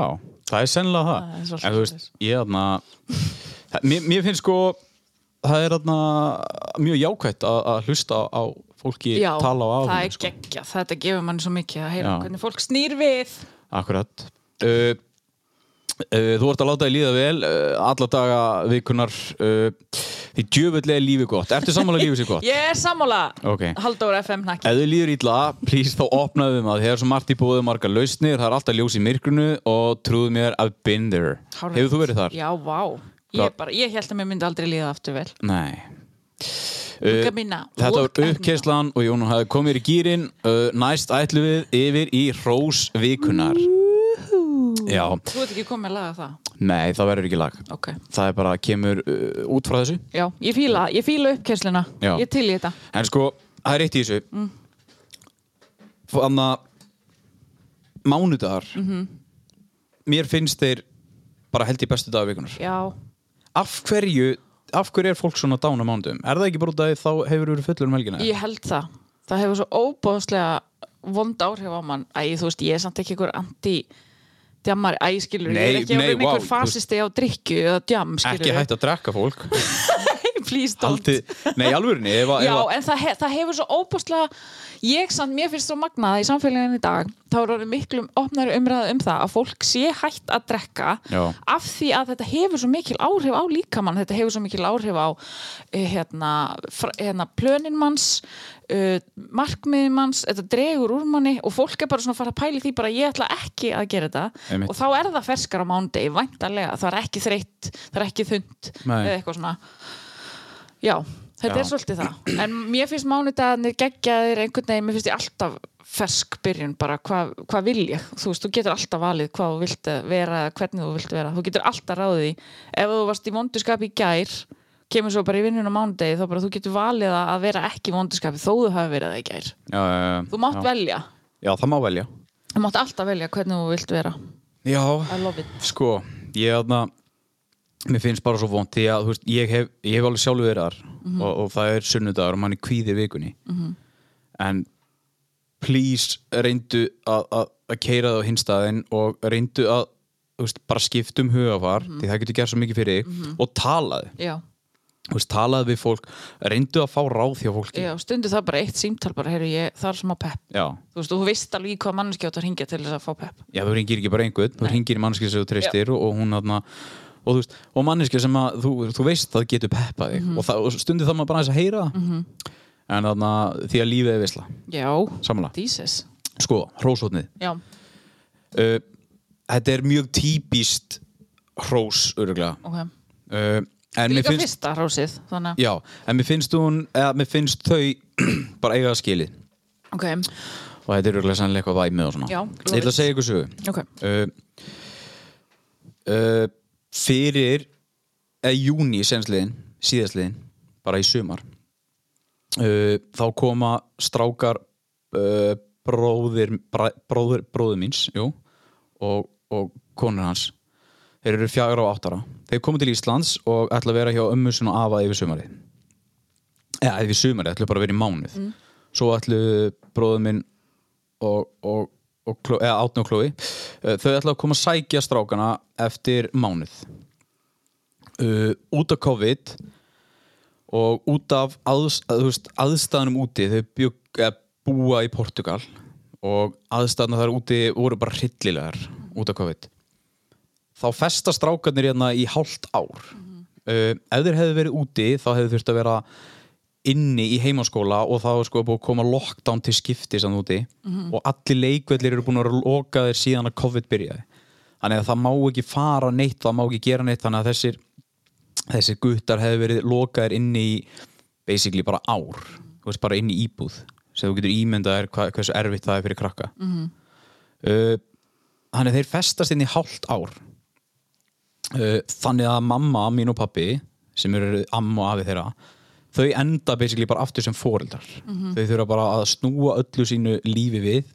það er sennilega það, Það er svolítið En þú veist, ég þarna það- mér, mér finnst sko Það er þarna mjög jákvætt að, að hlusta á, á fólki Já, tala á það afundi sko. er geggjað, þetta gefur manni svo mikið að heyra Já. hvernig fólk snýr við. Akkurat uh, uh, Þú ert að láta þig líða vel uh, alla daga vikunar uh, því djöfull er lífi gott Ertu sammála að lífi sér gott? Ég er sammála, Ok. Halldóra FM nakki. Ef þau líður ítla, please þá opnaðu maður Þegar svo margt í búið margar lausnir Það er alltaf ljós í myrkrunu og trúðu mér I've been there Hárrétt. Hefur þú verið þar? Já, vá. Já. Ég, bara, ég held að mér myndi aldrei líða aftur vel. Nei Look Uh, at me now. Þetta Look at var me uppkeislan og Jónun hafði komið í gýrin uh, Næst ætlu við yfir í Rósvikunar Já, Þú ert ekki komið að laga það. nei það verður ekki lag Ok. Það er bara kemur uh, út frá þessu Já, ég fíla, ég fíla uppkessluna. Já. Ég til í þetta. En sko, það er eitt í þessu Mm. Þannig að Mánudagar Mhm. Mér finnst þeir bara held í bestu dag vikunar Já. Af hverju, af hverju er fólk svona dán á mánudagum? Er það ekki bara út af því þá hefur verið fullur um helgina? Ég held það. Það hefur svo óbóðslega vond áhrif á mann. Æ, þú veist, ég er samt ekki einhver anti djammar. Æ, skilur, ég Nei, er ekki nei, orðin vá, einhver þú- fasisti á drikju eða djam, skilur. Ekki hægt að drekka fólk Please don't. Haldi, Nei, í alvörinni ef, að- ef, Já, að- en það, he, það hefur svo óbúslega ég samt, mér finnst svo magnað að í samfélaginu í dag, þá er orðið miklu opnari umræða um það að fólk sé hætt að drekka Já. af því að þetta hefur svo mikil áhrif á líkamann, þetta hefur svo mikil áhrif á eh, hérna, fr- hérna plönin manns uh, markmiðin manns, þetta dregur úr manni og fólk er bara svona að fara að pæli því bara ég ætla ekki að gera þetta Einmitt. og þá er það ferskar á mándegi, væntanlega það er ekki þreytt, það er ekki þund Nei. eða eitthvað svona Já, Þetta Já. er svolítið það. En mér finnst mánudagarnir geggjaðir einhvern veginn, mér finnst ég alltaf fersk byrjun bara hvað hva vil ég. Þú veist, þú getur alltaf valið hvað þú vilt vera, eða hvernig þú vilt vera. Þú getur alltaf ráðið í. Ef þú varst í vonduskap í gær, kemur svo bara í vinnun á mánudegi, þá bara þú getur valið að að vera ekki í vonduskapi þó þú hafi verið það í gær. já, já, já. Þú mátt já. velja. Já, það má velja Þú mátt alltaf velja hvernig þú vilt vera. Já, I love it. sko, ég aðna mér finnst bara svo vond því að þú veist, ég, hef, ég hef alveg sjálfur verið þar og, og það er sunnudagur og mann er kvíðir vikunni en please reyndu að- að að keira það á hinstaðin og reyndu að þú veist, bara skipta um hugafar því það getur gert svo mikið fyrir þig og talaði, Já, þú veist, talaði við fólk reyndu að fá ráð hjá fólki já stundu það bara eitt símtal bara, heyrðu ég, það er smá pepp. Já. Þú veist, þú veist alveg í hvað mannskjátt að hringja til þess að fá pepp. Já, þú ringir ekki bara einhvern, þú ringir í manneskja sem þú treystir og, og hún aðna og, þú veist, og manneskja sem að, þú, þú veist það getur peppa þig Mhm. og, það, og stundir það maður bara aðeins að heyra það en aðna því að lífið er visla Já, samanlega, Jesus sko, hrósotnið Já, uh, Þetta er mjög típist hrós, öruglega ok uh, en mér Líka finnst, fyrsta rásið, þannig já, en mér finnst hún eða mér finnst þau bara eiga það skilið að Ok, og þetta er öruglega sannlega eitthvað væmið og svona Já, Ég ætla að segja ykkur sögu ok uh, uh, fyrir eh, eða júni sensliðin síðastliðin, bara í sumar uh, þá koma strákar uh, bróðir, bra, bróðir bróðir míns, jú og, og konur hans þeir eru fjagra og áttara þeir komu til Íslands og ætla að vera hjá ömmusun og afa yfir sumarið eða yfir sumarið, ætlu bara að vera í mánuð svo ætlu bróður minn og, og, og Kló, eða Átni og Klói eh, þau ætlu að koma að sækja strákana eftir mánuð uh, út af COVID og út af aðs, að, þú veist, aðstæðanum úti þau bjug, eða, búa í Portugal og aðstæðanar þar úti voru bara hryllilegar út af COVID þá festa strákarnir hérna í hálft ár uh, ef þeir hefðu verið úti þá hefðu þurft að vera inni í heimaskóla og þá er sko búið að koma lockdown til skipti samt úti og allir leikvellir eru búin að vera lokaðir síðan að COVID byrjaði þannig að það má ekki fara neitt það má ekki gera neitt þannig að þessir þessir guttar hefðu verið lokaðir inni í basically bara ár þú veist bara inni í íbúð sem þú getur ímyndaðir hva, hversu erfitt það er fyrir krakka uh, þannig að þeir festast inn í hálft ár Uh, þannig að mamma, mín og pappi sem eru amma og afi þeirra þau enda basically bara aftur sem fóreldrar þau þurfa bara að snúa öllu sínu lífi við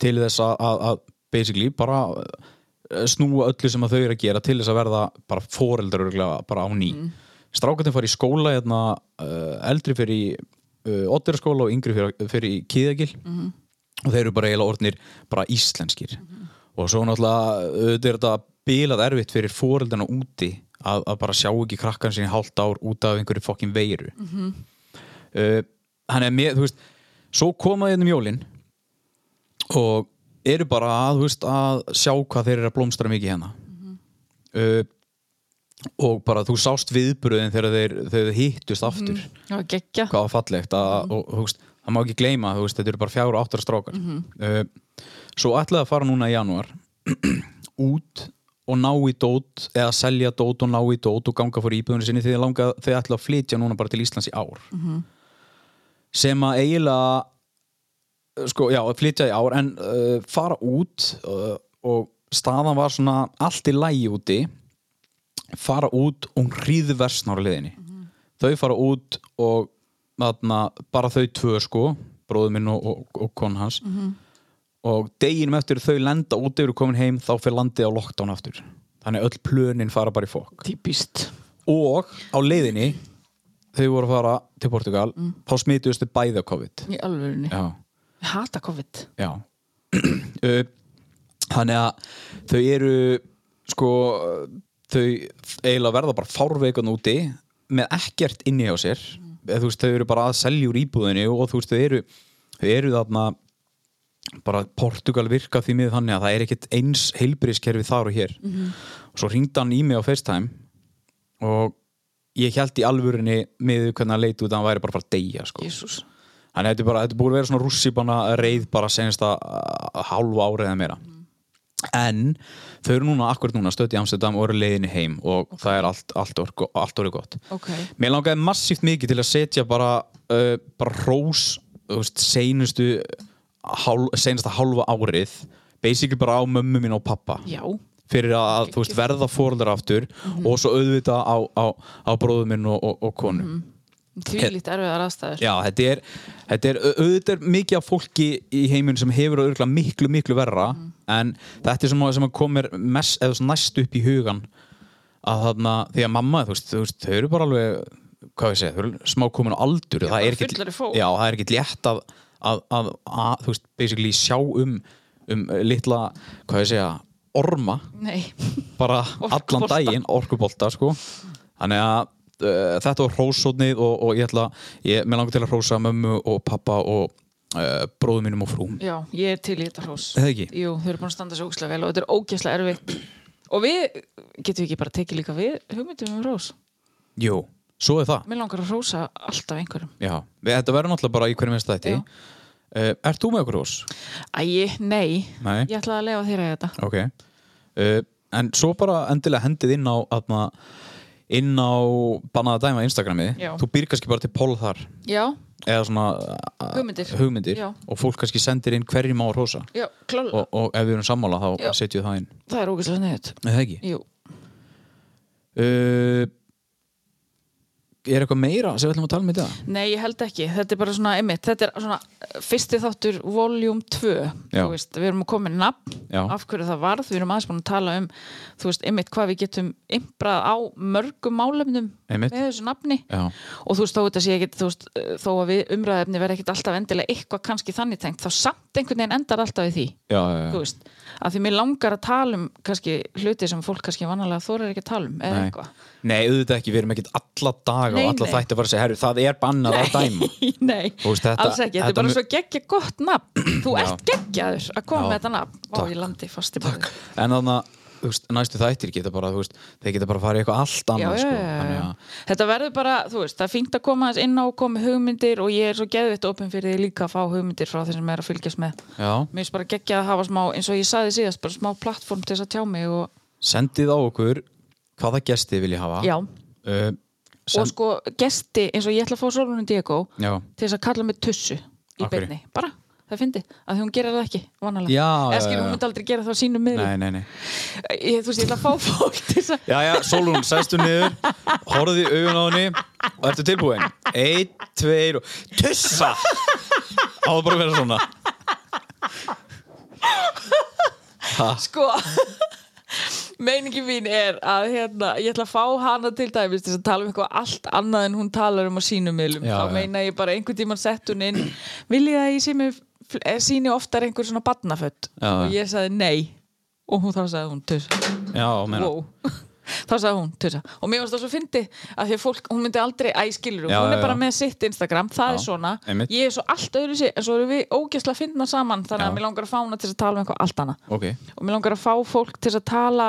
til þess að, að, að basically bara uh, snúa öllu sem að þau eru að gera til þess að verða bara foreldrar örugglega bara á ný mm. strákatinn fari í skóla hérna, uh, eldri fyrir í uh, oddurskóla og yngri fyrir, fyrir í kýðagil og þeir eru bara eiginlega orðnir bara íslenskir og svo náttúrulega auðvitað er þetta bilað erfitt fyrir fóreldana úti að, að bara sjá ekki krakkan sinni hálft ár út af einhverju fokkin veiru uh, hann er með, þú veist svo komaði hérna um jólin og eru bara að, þú veist, að sjá hvað þeir eru að blómstra mikið hérna uh, og bara þú sást viðbröðin þegar þeir, þeir hittust aftur Já, geggja hvað var fallegt að, og, þú veist, það má ekki gleyma þú veist, þetta eru bara fjára og áttara strákar uh, svo ætlaði að fara núna í janúar út og ná í dót eða selja dót og ná í dót og ganga fyrir íbúðunni sinni þegar langa, þeir ætla að flytja núna bara til Íslands í ár sem að eiginlega uh, sko, já, flytja í ár en uh, fara út uh, og staðan var svona allt í lægi úti fara út og hún hríð versnar á liðinni þau fara út og þarna, bara þau tvö sko bróður minn og, og, og kon hans og deginum eftir þau lenda út yfir og komin heim þá fyrir landið á lockdown aftur þannig öll plönin fara bara í fokk Típist og á leiðinni þau voru að fara til Portugal þá smituðust þau bæði á COVID Í alvörunni já, Ég Hata COVID já Uh, þannig að þau eru sko þau eiginlega verða bara fárveikan úti með ekkert inni á sér eða þú veist þau eru bara að selja úr íbúðinu og þú veist þau eru þau eru þarna bara Portugal virka því miður þannig að það er ekkert eins heilbríðskerfi þar og hér og svo ringdi hann í mig á FaceTime og ég held í alvörinni með hvernig að leita út að hann væri bara að fara að deyja sko. Jésús Þannig uh, að þetta er bara, þetta er búið að vera svona rússipanna reið bara senast að hálfu árið eða meira. en þau eru núna akkurat núna stödd í Amsterdam og eru á leiðinni heim og það er allt, allt, orku, allt orðið gott Ok. mér langaði massíft mikið til að setja bara, uh, bara rós þú veist, seinustu hál, seinasta hálfa árið basically bara á mömmu mín og pappa Já. Mhm. fyrir að, að þú veist, verða fóröldar aftur og svo auðvita á, á, á bróðum minn og, og, og konu Mhm. Tvílít erfiðar aðstæður. Já, þetta er, þetta er au- auðvitað er mikið af fólki í heiminn sem hefur auðvitað miklu, miklu verra en þetta er sem, að- sem að komir mest, eða svona næst upp í hugan að þarna, því að mamma, þú veist, þú veist þau eru bara alveg, hvað ég segi, þau eru smá komin á aldur það er fullari ekki, fólk. já, það er ekki létt að, að, að, að þú veist, basically sjá um, um eh, litla, hvað ég segja, orma Nei. bara allan Orkubolta. daginn orkubolta sko þannig að uh, þetta var hrósóðnið og, og ég ætla ég, mér langar til að hrósa mömmu og pappa og uh, bróðum mínum og frúm Já, ég er til í þetta hrós. Eða ekki? Jú, þau eru búin að standa svo ógislega vel og þetta er ógislega erfitt. Og við, getum við ekki bara tekið líka við hugmyndum um hrós? jú, svo er það Mér langar að hrósa alltaf einhverjum. já, við, þetta verður náttúrulega bara í hverjum minnst þetta Já. uh, ert þú með okkur hrós? Æi, nei. Nei. Ég ætlaði að lefa þér að þetta. ok uh, en svo bara endilega hendið inn á aðna, inn á bannaða dæma Instagrami Já. þú býr kannski bara til pól þar Já, eða svona uh, Hugmyndir. hugmyndir. Já. og fólk kannski sendir inn hverjum á að hrósa já, klála. og, og ef við erum sammála þá Já. setjum við það inn Það er ógislega sniðut. Nei, það ekki Jú. uh, Er eitthvað meira sem við ætlum að tala um í dag? Nei, ég held ekki. Þetta er bara svona, einmitt, þetta er svona eh, fyrsti þáttur voljúm 2. Já. Þú veist, við erum að koma með nafn, Já. af hverju það varð. Við erum aðeins búin að tala um, þú veist, einmitt, hvað við getum imbrað á mörgum málefnum Einmitt. með þessu nafni. Já, Og þú veist, þó þetta sé ekki, þú veist, eh, þó að við umræðefni verð ekkit alltaf endilega eitthvað kannski þannig tengt, þá samt einhvern veginn endar alltaf í því. já, já, já. Þú veist, að því mér langar að tala um kannski hluti sem fólk kannski vanalega þorir ekki að tala um eða Nei. eitthvað. Nei, auðvitað ekki, við erum ekkert alla daga Nei, og alla nei. þætti að fara að segja, herru, það er bannað að dæma Nei, Þú veist, þetta- alls ekki, þetta er þetta bara mun- svo geggja gott nafn Þú Já. ert geggjaður að Já. koma með þetta nafn Ó, Takk. ég landi fast í bóði En þannig að, þú veist, næstu þættir geta bara, þú veist, þeir geta bara að fara í eitthvað allt já, annað, já, sko já, Þannig já. að, Þetta verður bara, þú veist, það er fínt að koma aðeins inn á og koma með hugmyndir og ég er svo geðvitt opinn fyrir því líka að fá hugmyndir frá þeir sem er að fylgjast með já, Mér finnst bara geggja að hafa smá, eins og ég saði síðast bara smá plattform til þess að tjá mig og, sendið á okkur hvaða gesti vilji hafa já, uh, og send, sko gesti, eins og ég ætla að fá Solunum Diego Já, til þess að kalla mig tussu í Af hverju? beinni, bara, það fyndi að því hún gerir það ekki, Já, vanalega já, Eða skilur, já, já. hún myndi aldrei gera það á sínum miðlum nei, nei, nei ég, þú veist, ég ætla að fá fólk til þess að Já, já, Solun, sæstu niður Horfðu í augun á henni Og ertu tilbúin Eitt, tveir og Tussa Á það bara að vera svona sko meiningi mín er að hérna, ég ætla að fá hana til dæmis til þess að tala um eitthvað allt annað en hún talar um á sínum miðlum, Já, þá já. meina ég bara einhvern tímann sett hún inn, vil ég að ég síni, síni eh, oftar einhver svona badnafött Já, já. og ég sagði nei og hún þá sagði hún tuss Já, meina wow. þá sagði hún tussa. og mér varst það svo fyndi að því að fólk, hún myndi aldrei, æ skilur hún, Já, hún já, er bara já. með sitt Instagram, það Já, er svona einmitt. ég er svo allt öðru sig, en svo erum við ógæsla að finna saman, Já. þannig að mér langar að fá hana til þess að tala um eitthvað allt annað Ok, og mér langar að fá fólk til þess að tala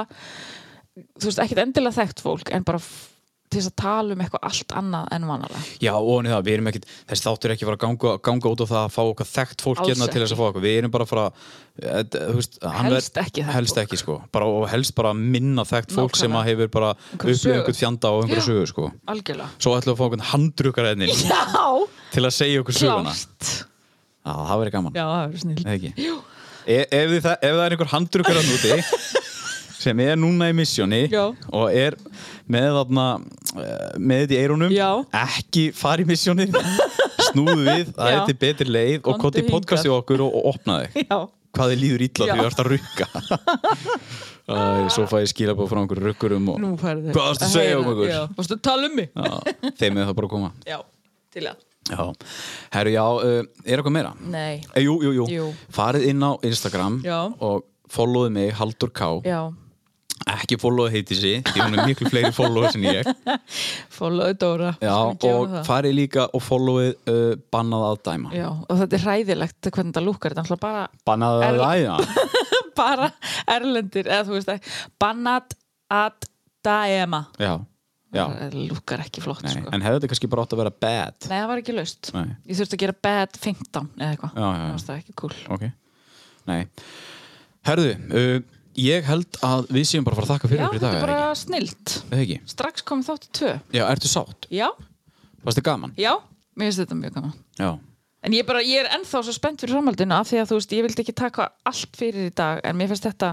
þú veist, ekkit endilega þekkt fólk en bara f- til þess að tala um eitthvað allt annað en vanalega já, og henni það, við erum ekkit Þessi þáttur er ekki að fara að ganga, ganga út á það að fá okkar þekkt fólk Alls hérna til þess að fá okkur Við erum bara að fara eh, d- þú veist, hann Helst ekki þekkt Helst fólk. ekki, sko bara, Og helst bara minna þekkt fólk sem að Nákvæmlega. hefur bara Einhverja upplifað sögu. einhvern fjanda og einhverja Já. sögu, sko algjörlega Svo ætlum við að fá einhvern handrukkaræðnin já, til að segja okkur söguna Já, klárt það verið gaman já, það er snill Eða ekki? E ef, þið, þa- ef það er einhver handrukkar að núti sem er núna í missjóni Já. og er með þarna eh, með þetta í eirunum Já. ekki fara í missjóni snúðu við, það Já. er til betri leið og Komdu koti podcasti hingað. okkur og, og opna þig já, hvað þið líður illa Já. því þú ert að rukka Æ, svo fæ ég skilabóð frá einhverjum rukkurum og nú færðu Hvað varstu að segja um okkur? Já, varstu að tala um mig Já, þeim er það bara að koma já, til að Já, herru, já, uh, er eitthvað meira? Nei. Eh, Jú, jú, jú, Jú. farið inn á Instagram Já. og followðu mig, Haldur K Já, ekki followðu heiti sí, því hún er miklu fleiri followers en ég followðu Dóra Já, Skal við gefa og henni það? farið líka og followðu uh, bannað að dæma Já, og þetta er hræðilegt hvernig þetta lúkar þetta er náttúrulega bara Bannað að dæma bara erlendir eða þú veist það, bannat að dæma Já, já, það lúkar ekki flott nei, sko. en hefði þetta kannski bara átt að vera bad nei, það var ekki laust Nei. ég þurfti að gera bad 15 eða eitthvað Já, já, já. það var ekki cool Ok, nei Herðu, uh, ég held að við séum bara að fara að þakka fyrir Já, okkur í þetta dag er bara snilt eða ekki? Strax komið þáttu tvö Já, ertu sátt? Já, Fannst þið gaman? já, mér finnst þetta mjög gaman Já, En ég, bara, ég er ennþá svo spennt fyrir framhaldinu af því að þú veist, ég vildi ekki taka allt fyrir í dag en mér finnst þetta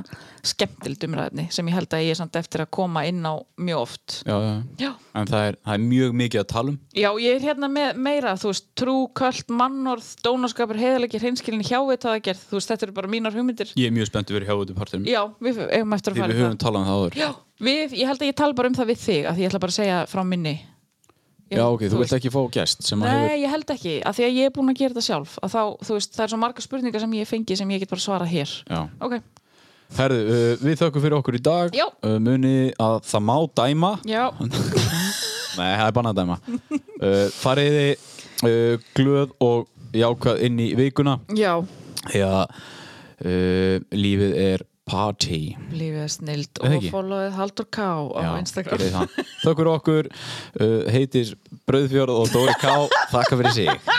skemmtild umræðni sem ég held að ég er samt eftir að koma inn á mjög oft. já, já. Já, En það er, það er mjög mikið að tala um já ég er hérna með meira, þú veist, trú, köld, mannorð, dónaskapur, heiðalegir, hreinskilin, hjáveitaða gerð, þú veist, þetta eru bara mínar hugmyndir. Ég er mjög spennt að vera hjá út um partinum Já, við eigum eftir að Því við fara í höfum það. talað um það áður Já, við, ég held að ég tala bara um það við þig, af því ég ætla bara að segja frá minni. Ég- Já, ok, þú veist- vilt ekki fá gest sem að hefur Nei, ég held ekki, af því að ég er búin að gera þetta sjálf að þá, þú veist, það er svo marga spurningar sem ég fengi sem ég get bara svarað hér Já. Ok, Herðu, uh, við þökkum fyrir okkur í dag Já. uh, Muni að það má dæma já, Nei, það er bannað að dæma uh, Fariði uh, glöð og jákvæð inn í vikuna já Því að uh, lífið er party Lífið er snild Eða og ekki? followið Haldur K á Instagram gerið það. Þökk fyrir okkur uh, heitir Bröðfjörð og Dóri Ká Þakka fyrir sig